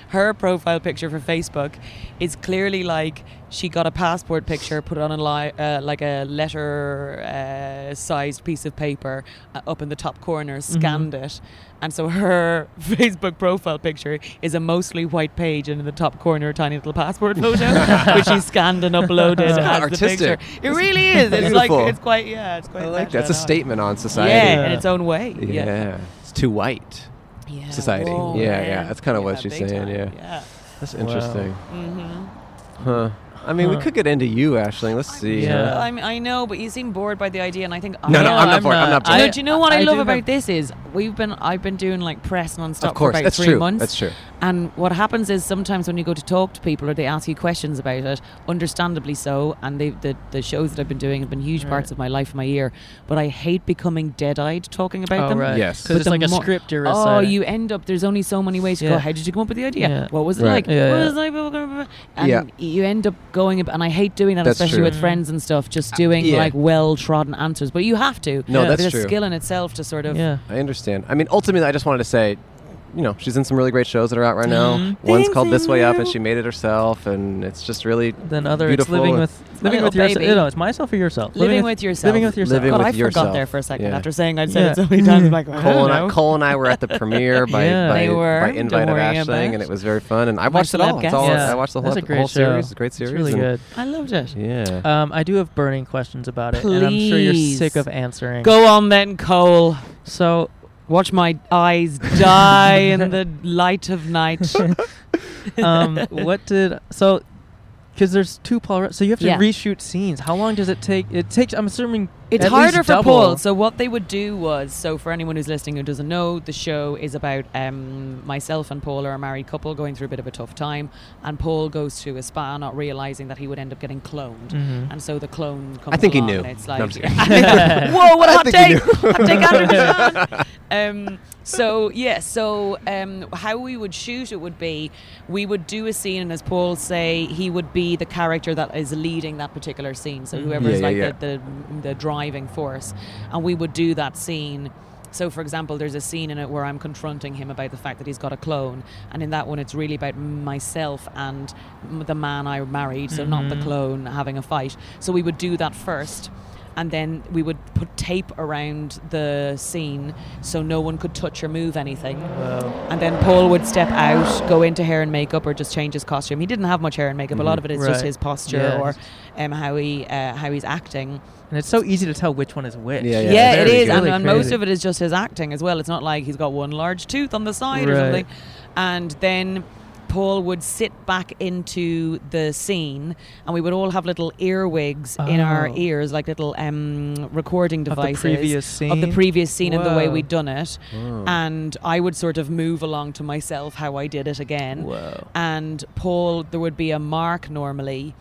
her profile picture for Facebook is clearly like she got a passport picture, put it on a li- uh, like a letter uh, sized piece of paper uh, up in the top corner, Mm-hmm. scanned it. And so her *laughs* Facebook profile picture is a mostly white page, and in the top corner, a tiny little passport photo, *laughs* which she scanned and uploaded as Artistic. the picture. It really is. It's Beautiful. like it's quite yeah. It's quite. I like special that's a and all. statement on Yeah, society. in its own way. Yeah. Yeah. It's too white. Yeah, society. Yeah, yeah, man. that's kinda what she's big saying, yeah. yeah. That's Wow. interesting. Mm-hmm. Huh. I mean, we Huh. could get into you, Ashling. Let's see. Yeah. I, mean, I know, but you seem bored by the idea, and I think No, I no, I'm not bored. I'm not I, bored. know, do you know what I, I love do about have- this is we've been I've been doing like press nonstop Of course, for about that's three true. months. That's true. And what happens is sometimes when you go to talk to people or they ask you questions about it, understandably so, and they, the the shows that I've been doing have been huge parts of my life, and my year. But I hate becoming dead eyed talking about Oh, them. right. Yes. Because But it's the like a mo- script you're Oh, reciting. you end up. There's only so many ways to go. Yeah. How did you come up with the idea? Yeah. What was it Right. like? Yeah, What yeah. was it like? And Yeah. you end up going. ab- And I hate doing that, That's especially true. Uh, with friends and stuff. Just doing yeah. like well-trodden answers, but you have to. No, that's There's true. a skill in itself to sort of. yeah. I understand. I mean, ultimately, I just wanted to say, you know, she's in some really great shows that are out right now. Mhm. One's called This Way Up, and she made it herself, and it's just really Then other it's beautiful. living with living little with yourself. baby. No, it's myself or yourself. Living with yourself. Living with yourself. Living God, with I yourself. forgot there for a second Yeah. after saying I'd said Yeah. it so *laughs* many times. I'm *laughs* like, I Cole don't and I, know. Cole and I were at the premiere by, Yeah. by, They were. by Don't invite of worry Ashling, about and it. it was very fun. And I My watched it all. celeb It's all guest. I watched the whole, That's a the great whole series. show. It's a great It's series. really and- good. I loved it. Yeah. Um, I do have burning questions about it, and I'm sure you're Please. sick of answering. Go on then, Cole. So Watch my eyes die in *laughs* the light of night. *laughs* um, what did so? Because there's two Paul. Rudd- so you have to Yeah. reshoot scenes. How long does it take? It takes. I'm assuming It's at harder least for double. Paul. So what they would do was, so for anyone who's listening who doesn't know, the show is about um, myself and Paul are a married couple going through a bit of a tough time, and Paul goes to a spa, not realizing that he would end up getting cloned, Mhm. and so the clone comes. Mm-hmm. I think he along knew. And it's No, like, *laughs* I'm just kidding. whoa, what a hot think he take! hot take, Andrew *laughs* Milan. Um, so yeah, so um, how we would shoot it would be, we would do a scene, and as Paul say, he would be the character that is leading that particular scene. So whoever Mm-hmm. is Yeah, like yeah, The, the the driving force, and we would do that scene. So, for example, there's a scene in it where I'm confronting him about the fact that he's got a clone, and in that one, it's really about myself and m- the man I married, so not the clone having a fight. So we would do that first. And then we would put tape around the scene so no one could touch or move anything. And then Paul would step out, go into hair and makeup, or just change his costume. He didn't have much hair and makeup. A lot of it is just Right. his posture Yeah. or um, how he uh, how he's acting. and it's so easy to tell which one is which. Yeah, Yeah, it very is, good. and, Really and most crazy. of it is just his acting as well. It's not like he's got one large tooth on the side or Right. something. And then Paul would sit back into the scene, and we would all have little earwigs in our Oh. ears, like little um, recording Of the devices previous of the scene? previous scene and the way Whoa. we'd done it. And I would sort of move along to myself how I did it again Whoa. and Paul, there would be a mark normally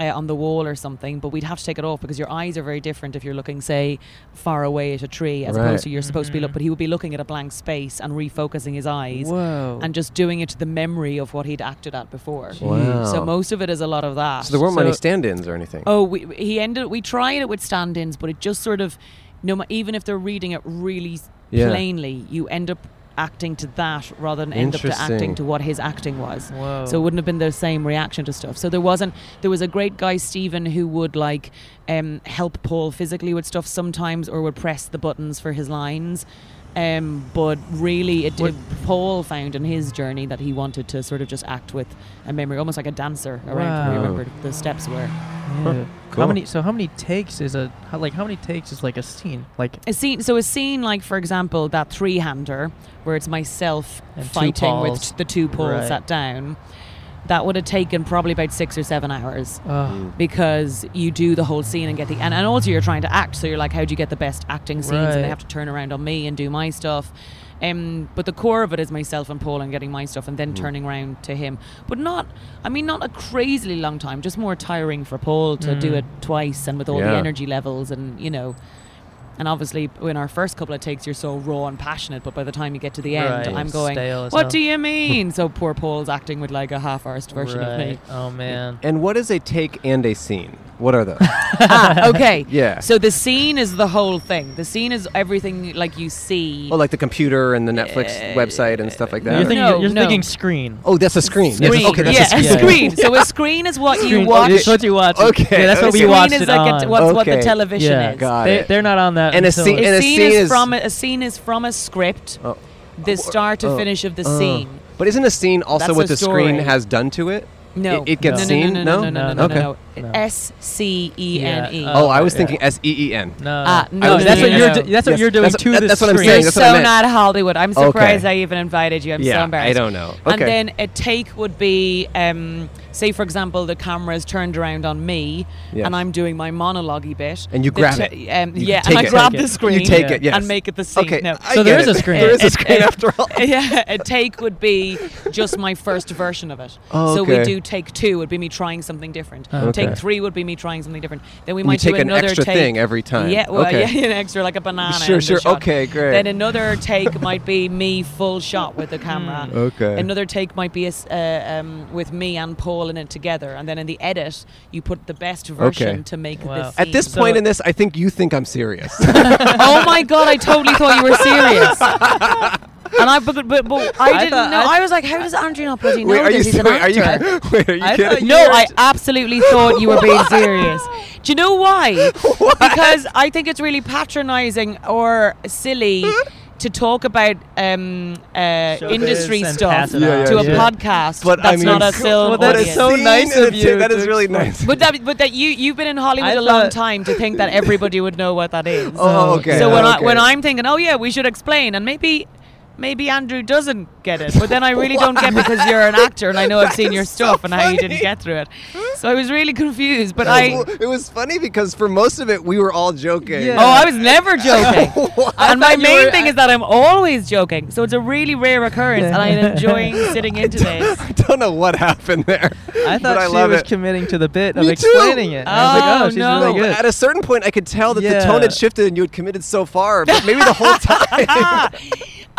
uh, on the wall or something, but we'd have to take it off because your eyes are very different if you're looking, say, far away at a tree as Right. opposed to you're supposed to be look. But he would be looking at a blank space and refocusing his eyes Whoa. and just doing it to the memory of what he'd acted at before. Wow. So most of it is a lot of that. So there weren't many So- stand-ins or anything. Oh, we, he ended. We tried it with stand-ins, but it just sort of, no, ma- even if they're reading it really s- Yeah. plainly, you end up acting to that rather than end up to Interesting. acting to what his acting was. Whoa. So it wouldn't have been the same reaction to stuff. So there wasn't. There was a great guy Stephen who would like um, help Paul physically with stuff sometimes, or would press the buttons for his lines. Um, but really, it did. Paul found in his journey that he wanted to sort of just act with a memory, almost like a dancer around. Wow. Wow. Remembered the steps were. Yeah. How many? So how many takes is a how, like how many takes is like a scene? Like A scene, so a scene like, for example, that three-hander where it's myself And two fighting with Pauls. t- the two poles Right. sat down. That would have taken probably about six or seven hours uh, Mm. because you do the whole scene and get the and, and also you're trying to act. So you're like, how do you get the best acting scenes? And Right. they have to turn around on me and do my stuff. Um, but the core of it is myself and Paul and getting my stuff and Mm. then turning around to him. But not, I mean, not a crazily long time. Just more tiring for Paul to do Mm. it twice and with all Yeah. the energy levels and you know. And obviously, in our first couple of takes, you're so raw and passionate. But by the time you get to the end, Right. I'm going, Stale as "What hell." do you *laughs* mean?" so poor Paul's acting with like a half-arsed version of me. right. Oh man. And what is a take and a scene? What are those? *laughs* ah, okay. Yeah. So the scene is the whole thing. The scene is everything like you see. oh, like the computer and the Netflix website and stuff like that. You're thinking No, you're no. thinking screen. oh, that's a screen. Yes, Screen. okay, that's yeah, a Yeah, screen. yeah. screen. So *laughs* a screen is what you Screen. watch. That's what you watch. Okay, Yeah, that's what a we screen watched is it like on. A, what's what the Okay. television Yeah. is. Got they, it. they're not on that. And a until- scene- and a a scene scene is, is- from a, a scene is from a script. Oh. the start to oh, finish of the Uh, scene. But isn't a scene also That's what a the screen story. has done to it? No. It, it gets No. seen? No, no, no, no, no, no, Okay. no, no. No. S C E N E. Yeah, Oh, I Oh, was yeah. thinking S E E N. No. Ah, no, Oh, no, that's no, what no, you're. no. do- That's what Yes, you're doing that's- to that- the that's what I'm screen. You're saying. that's what I so meant. not Hollywood. I'm Okay. surprised I even invited you. I'm so Yeah, embarrassed. I don't know. Okay. And then a take would be, um, say, for example, the camera is turned around on me Yes. and I'm doing my monologue bit. And you The grab ta- it. Um, You yeah, take and I it. grab Take the it. screen you take it, yes. and make it the scene. Okay, No. I So there get is it. a screen. There is Uh, a screen uh, after all. *laughs* yeah, a take would be just my first version of it. Oh, So we okay. do take two would be me trying something different. Okay. Take three would be me trying something different. Then we And you might do take an another extra take. thing every time. Yeah, well, Okay. yeah, *laughs* an extra like a banana. Sure, in the sure. shot. Okay, great. Then another take might be me full shot *laughs* with the camera. Okay. Another take might be a s- uh, um, with me and Paul in it together, and then in the edit you put the best version Okay. to make Wow. this. At this *laughs* scene. point in this, I think you think I'm *laughs* serious. *laughs* oh my god! I totally thought you were *laughs* serious. And I, but, but, but I, I didn't thought- know. I- Oh, I, was like, how does Andrew not bloody know wait, are you, this? He's an wait, are you? actor. Wait, are you I thought kidding? you- No, were I t- absolutely thought you were *laughs* being serious. Do you know why? Because I think it's really patronizing or *laughs* silly to talk about um, uh, Showbiz industry and stuff pass to it on. a Yeah. podcast But that's I mean, not a film. Well, that is audience. so scene nice and a of ta- you That to is really explain. nice. *laughs* But that, but that you you've been in Hollywood I a long thought- time to think *laughs* that everybody would know what that is. Oh, okay. So when I okay. when I'm thinking, oh yeah, we should explain, and maybe maybe Andrew doesn't get it, but then I really don't *laughs* get because you're an actor and I know I've seen your stuff and how you didn't get through *laughs* it. So I was really confused, but I. Well, it was funny because for most of it we were all joking. Yeah. Oh, I was never *laughs* joking. *laughs* What? and my thought you main were- thing Oh, I- is that I'm always joking. So it's a really rare occurrence, and I'm enjoying sitting *laughs* into *laughs* this. I don't know what happened there. I thought but I she love was it. committing to the bit of Me too. explaining it. I was like, Oh, oh, she's no. really No, good. At a certain point, I could tell that Yeah. the tone had shifted and you had committed so far, but maybe the whole time. Ah, *laughs*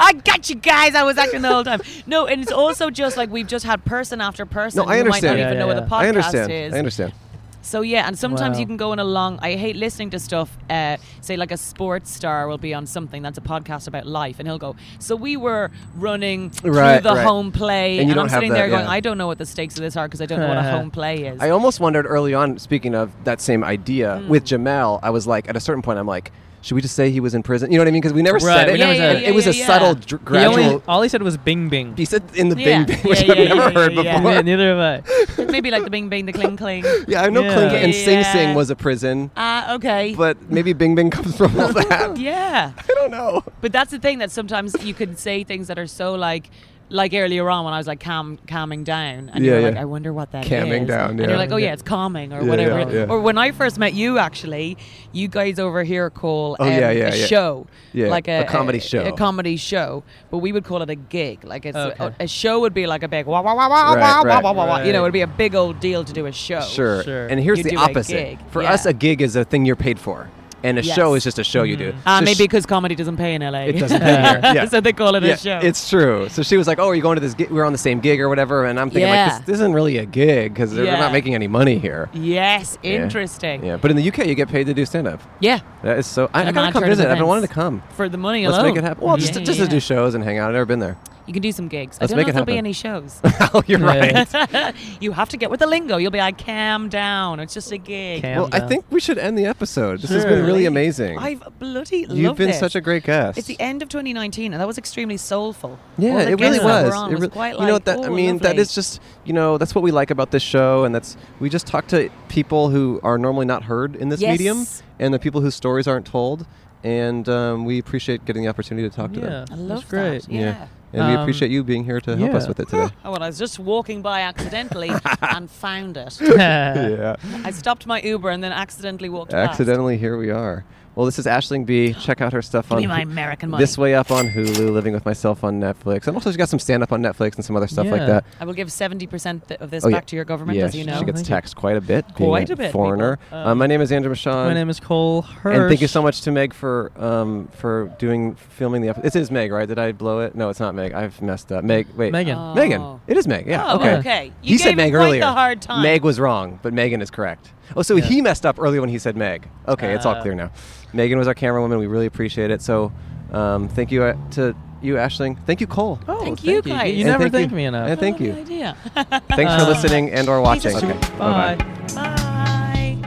I got you guys. I was acting the whole time. No, and it's also just like we've just had person after person. No, I who might not understand. even Yeah, know yeah. what the podcast I understand. is. I understand. So yeah, and sometimes Wow. you can go on a long. I hate listening to stuff. Uh, say like a sports star will be on something that's a podcast about life, and he'll go. So we were running Right, through the right. home And play, you and, don't I'm have sitting that, there going, yeah. I don't know what the stakes of this are because I don't know *laughs* what a home play is. I almost wondered early on, speaking of that same idea Hmm. with Jamel, I was like, at a certain point, I'm like, should we just say he was in prison? You know what I mean? Because we never Right, said it. we never And said it. it was Yeah, a yeah, subtle, yeah. dr- He gradual. only- all he said was Bing Bing. he said in the Yeah. Bing Bing, which Yeah, I've yeah, never yeah, heard yeah, yeah. before. Man, neither have I. Maybe like the Bing Bing, the Cling Cling. *laughs* Yeah, I know Yeah. Clink and Sing Yeah. Sing was a prison, Ah, okay. but maybe Bing Bing comes from all that. *laughs* yeah. I don't know. But that's the thing that sometimes you can say things that are so like, like earlier on when I was like calm, calming down, and Yeah, you're yeah. like, I wonder what that is. Calming down, And yeah. you're like, oh yeah, it's calming or Yeah, whatever. yeah, it- yeah. Or when I first met you, actually, you guys over here call Oh, um, yeah, yeah, a yeah. show, Yeah, like a, a comedy show. a comedy show. But we would call it a gig. Like it's Okay. a, a show would be like a big wah wah wah wah Right, wah right, wah wah wah. You know, right. it'd be a big old deal to do a show. Sure. Sure. And here's Oh, You the do a opposite. gig, For yeah. us, a gig is a thing you're paid for. and a Yes. show is just a show you do. Ah, So maybe she- because comedy doesn't pay in LA. It doesn't pay *laughs* here. Yeah. so they call it yeah, a show. It's true. So she was like, "Oh, are you going to this? Gig? We're on the same gig or whatever." And I'm thinking, Yeah. like, this, this isn't really a gig because they're, they're Yeah. not making any money here. yes, Yeah. interesting. Yeah, but in the UK, you get paid to do stand up. Yeah. That is so. I, And I gotta not come turn visit. I've events. been wanting to come. For the money Let's alone. make it happen. Well, just, Yeah, just yeah, to do shows and hang out. I've never been there. *laughs* yeah. You can do some gigs. Let's I make don't know it if there'll be happen. any shows. oh, you're Yeah. *laughs* right. *laughs* you have to get with the lingo. You'll be like, calm down. It's just a gig. Cam Well, I down. think we should end the episode. This has been really amazing. I've bloody loved You've been it. such a great guest. It's the end of 2019, and that was extremely soulful. All Yeah, the it really guests that was. were on It really- quite you know like, what that I "Oh, mean? That lovely." is just you know that's what we like about this show, and that's we just talk to people who are normally not heard in this medium, Yes. and the people whose stories aren't told, and um, we appreciate getting the opportunity to talk to Yeah, them. I that's love great. that. Yeah. and we Um, appreciate you being here to help us yeah. with it *laughs* today. Oh, *laughs* well, I was just walking by *laughs* accidentally and found it. *laughs* yeah, I stopped my Uber and then accidentally walked accidentally here we are. Well, this is Ashling B. Check out her stuff Past. Give on me my Hu- American money. This Way Up on Hulu, Living with Myself on Netflix, and also she got some stand up on Netflix and some other stuff like Yeah. that. I will give 70% th- of this Oh, yeah. back to your government, yeah, as you she- know. she *laughs* gets Thank you. taxed quite a bit. Quite being a bit, Foreigner. people. Um, Uh, my name is Andrew Michon. *laughs* My name is Cole Hirsch. And thank you so much to Meg for um, for doing filming the episode. It is Meg, right? Did I blow it? No, it's not Meg. I've messed up. Meg, wait, Megan. Oh. Megan. It is Meg. Yeah. Oh, okay. okay. You He said gave Meg him quite earlier. the hard time. Meg was wrong, but Megan is correct. Oh, so Yeah. he messed up earlier when he said Meg. Okay, it's all Uh. clear now. Megan was our camera woman. We really appreciate it. So, um, thank you uh, to you, Ashling. Thank you, Cole. Oh, Thank you guys. You And never thank thank you. me enough. And thank Lovely you. *laughs* idea. Thanks for Uh, listening and or watching. Jesus. Okay. Bye. Bye.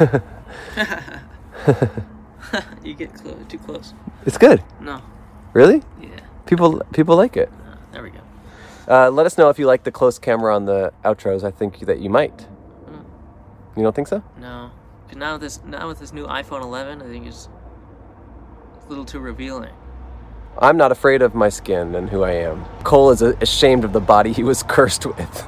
Oh. *laughs* You get clo- too close. It's good. No. Really? Yeah. People people like it. There we go. Uh, let us know if you like the close camera on the outros. I think that you might. You don't think so? No. 'Cause now with this now with this new iPhone 11, I think it's it's a little too revealing. I'm not afraid of my skin and who I am. Cole is uh, ashamed of the body he was *laughs* cursed with.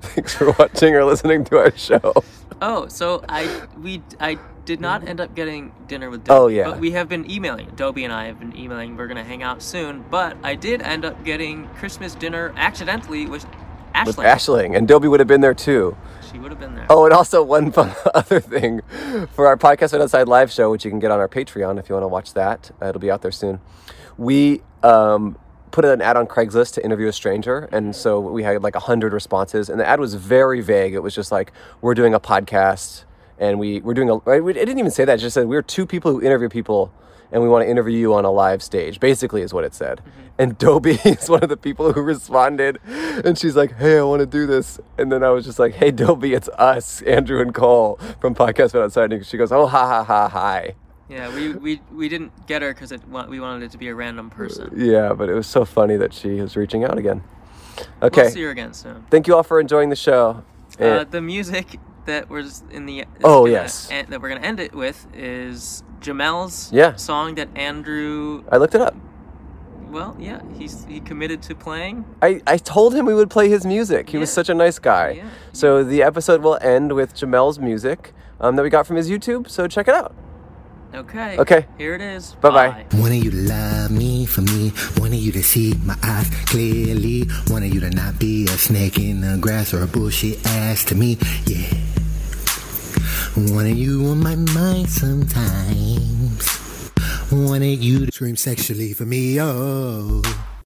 Thanks for watching or listening to our show. Oh, so I we I did not end up getting dinner with Dobie. Oh, yeah. But we have been emailing. Dobie and I have been emailing. We're gonna hang out soon. But I did end up getting Christmas dinner accidentally with Ashley. With Ashling and Dobie would have been there too. She would have been there. *laughs* Oh, and also one fun *laughs* other thing for our podcast right outside live show, which you can get on our Patreon if you want to watch that. Uh, it'll be out there soon. We um, put an ad on Craigslist to interview a stranger, and so we had like hundred responses, and the ad was very vague. It was just like we're doing a podcast, and we we're doing a. Right, we- it didn't even say that. It just said we're two people who interview people. And we want to interview you on a live stage, basically, is what it said. Mm-hmm. And Dobie *laughs* is one of the people who responded. And she's like, Hey, I want to do this. And then I was just like, Hey, Dobie, it's us, Andrew and Cole from Podcast But Outside. And she goes, Oh, ha, ha, ha, hi. Yeah, we we, we didn't get her because we wanted it to be a random person. Yeah, but it was so funny that she is reaching out again. We'll see Okay. her again soon. Thank you all for enjoying the show. Uh, And- the music that was in the Oh, gonna yes. en- that we're gonna end it with is Jamel's Yeah. song that Andrew I looked it up. well yeah he's he committed to playing I, I told him we would play his music. He was Yeah. such a nice guy. Yeah. So the episode will end with Jamel's music um, that we got from his YouTube. So check it out. okay Okay. here it is Bye-bye. Wanted you to love me for me. Wanted you to see my eyes clearly. Wanted you to not be a snake in the grass or a bullshit ass to me. Yeah. Wanted you on my mind sometimes. Wanted you to scream sexually for me. Oh.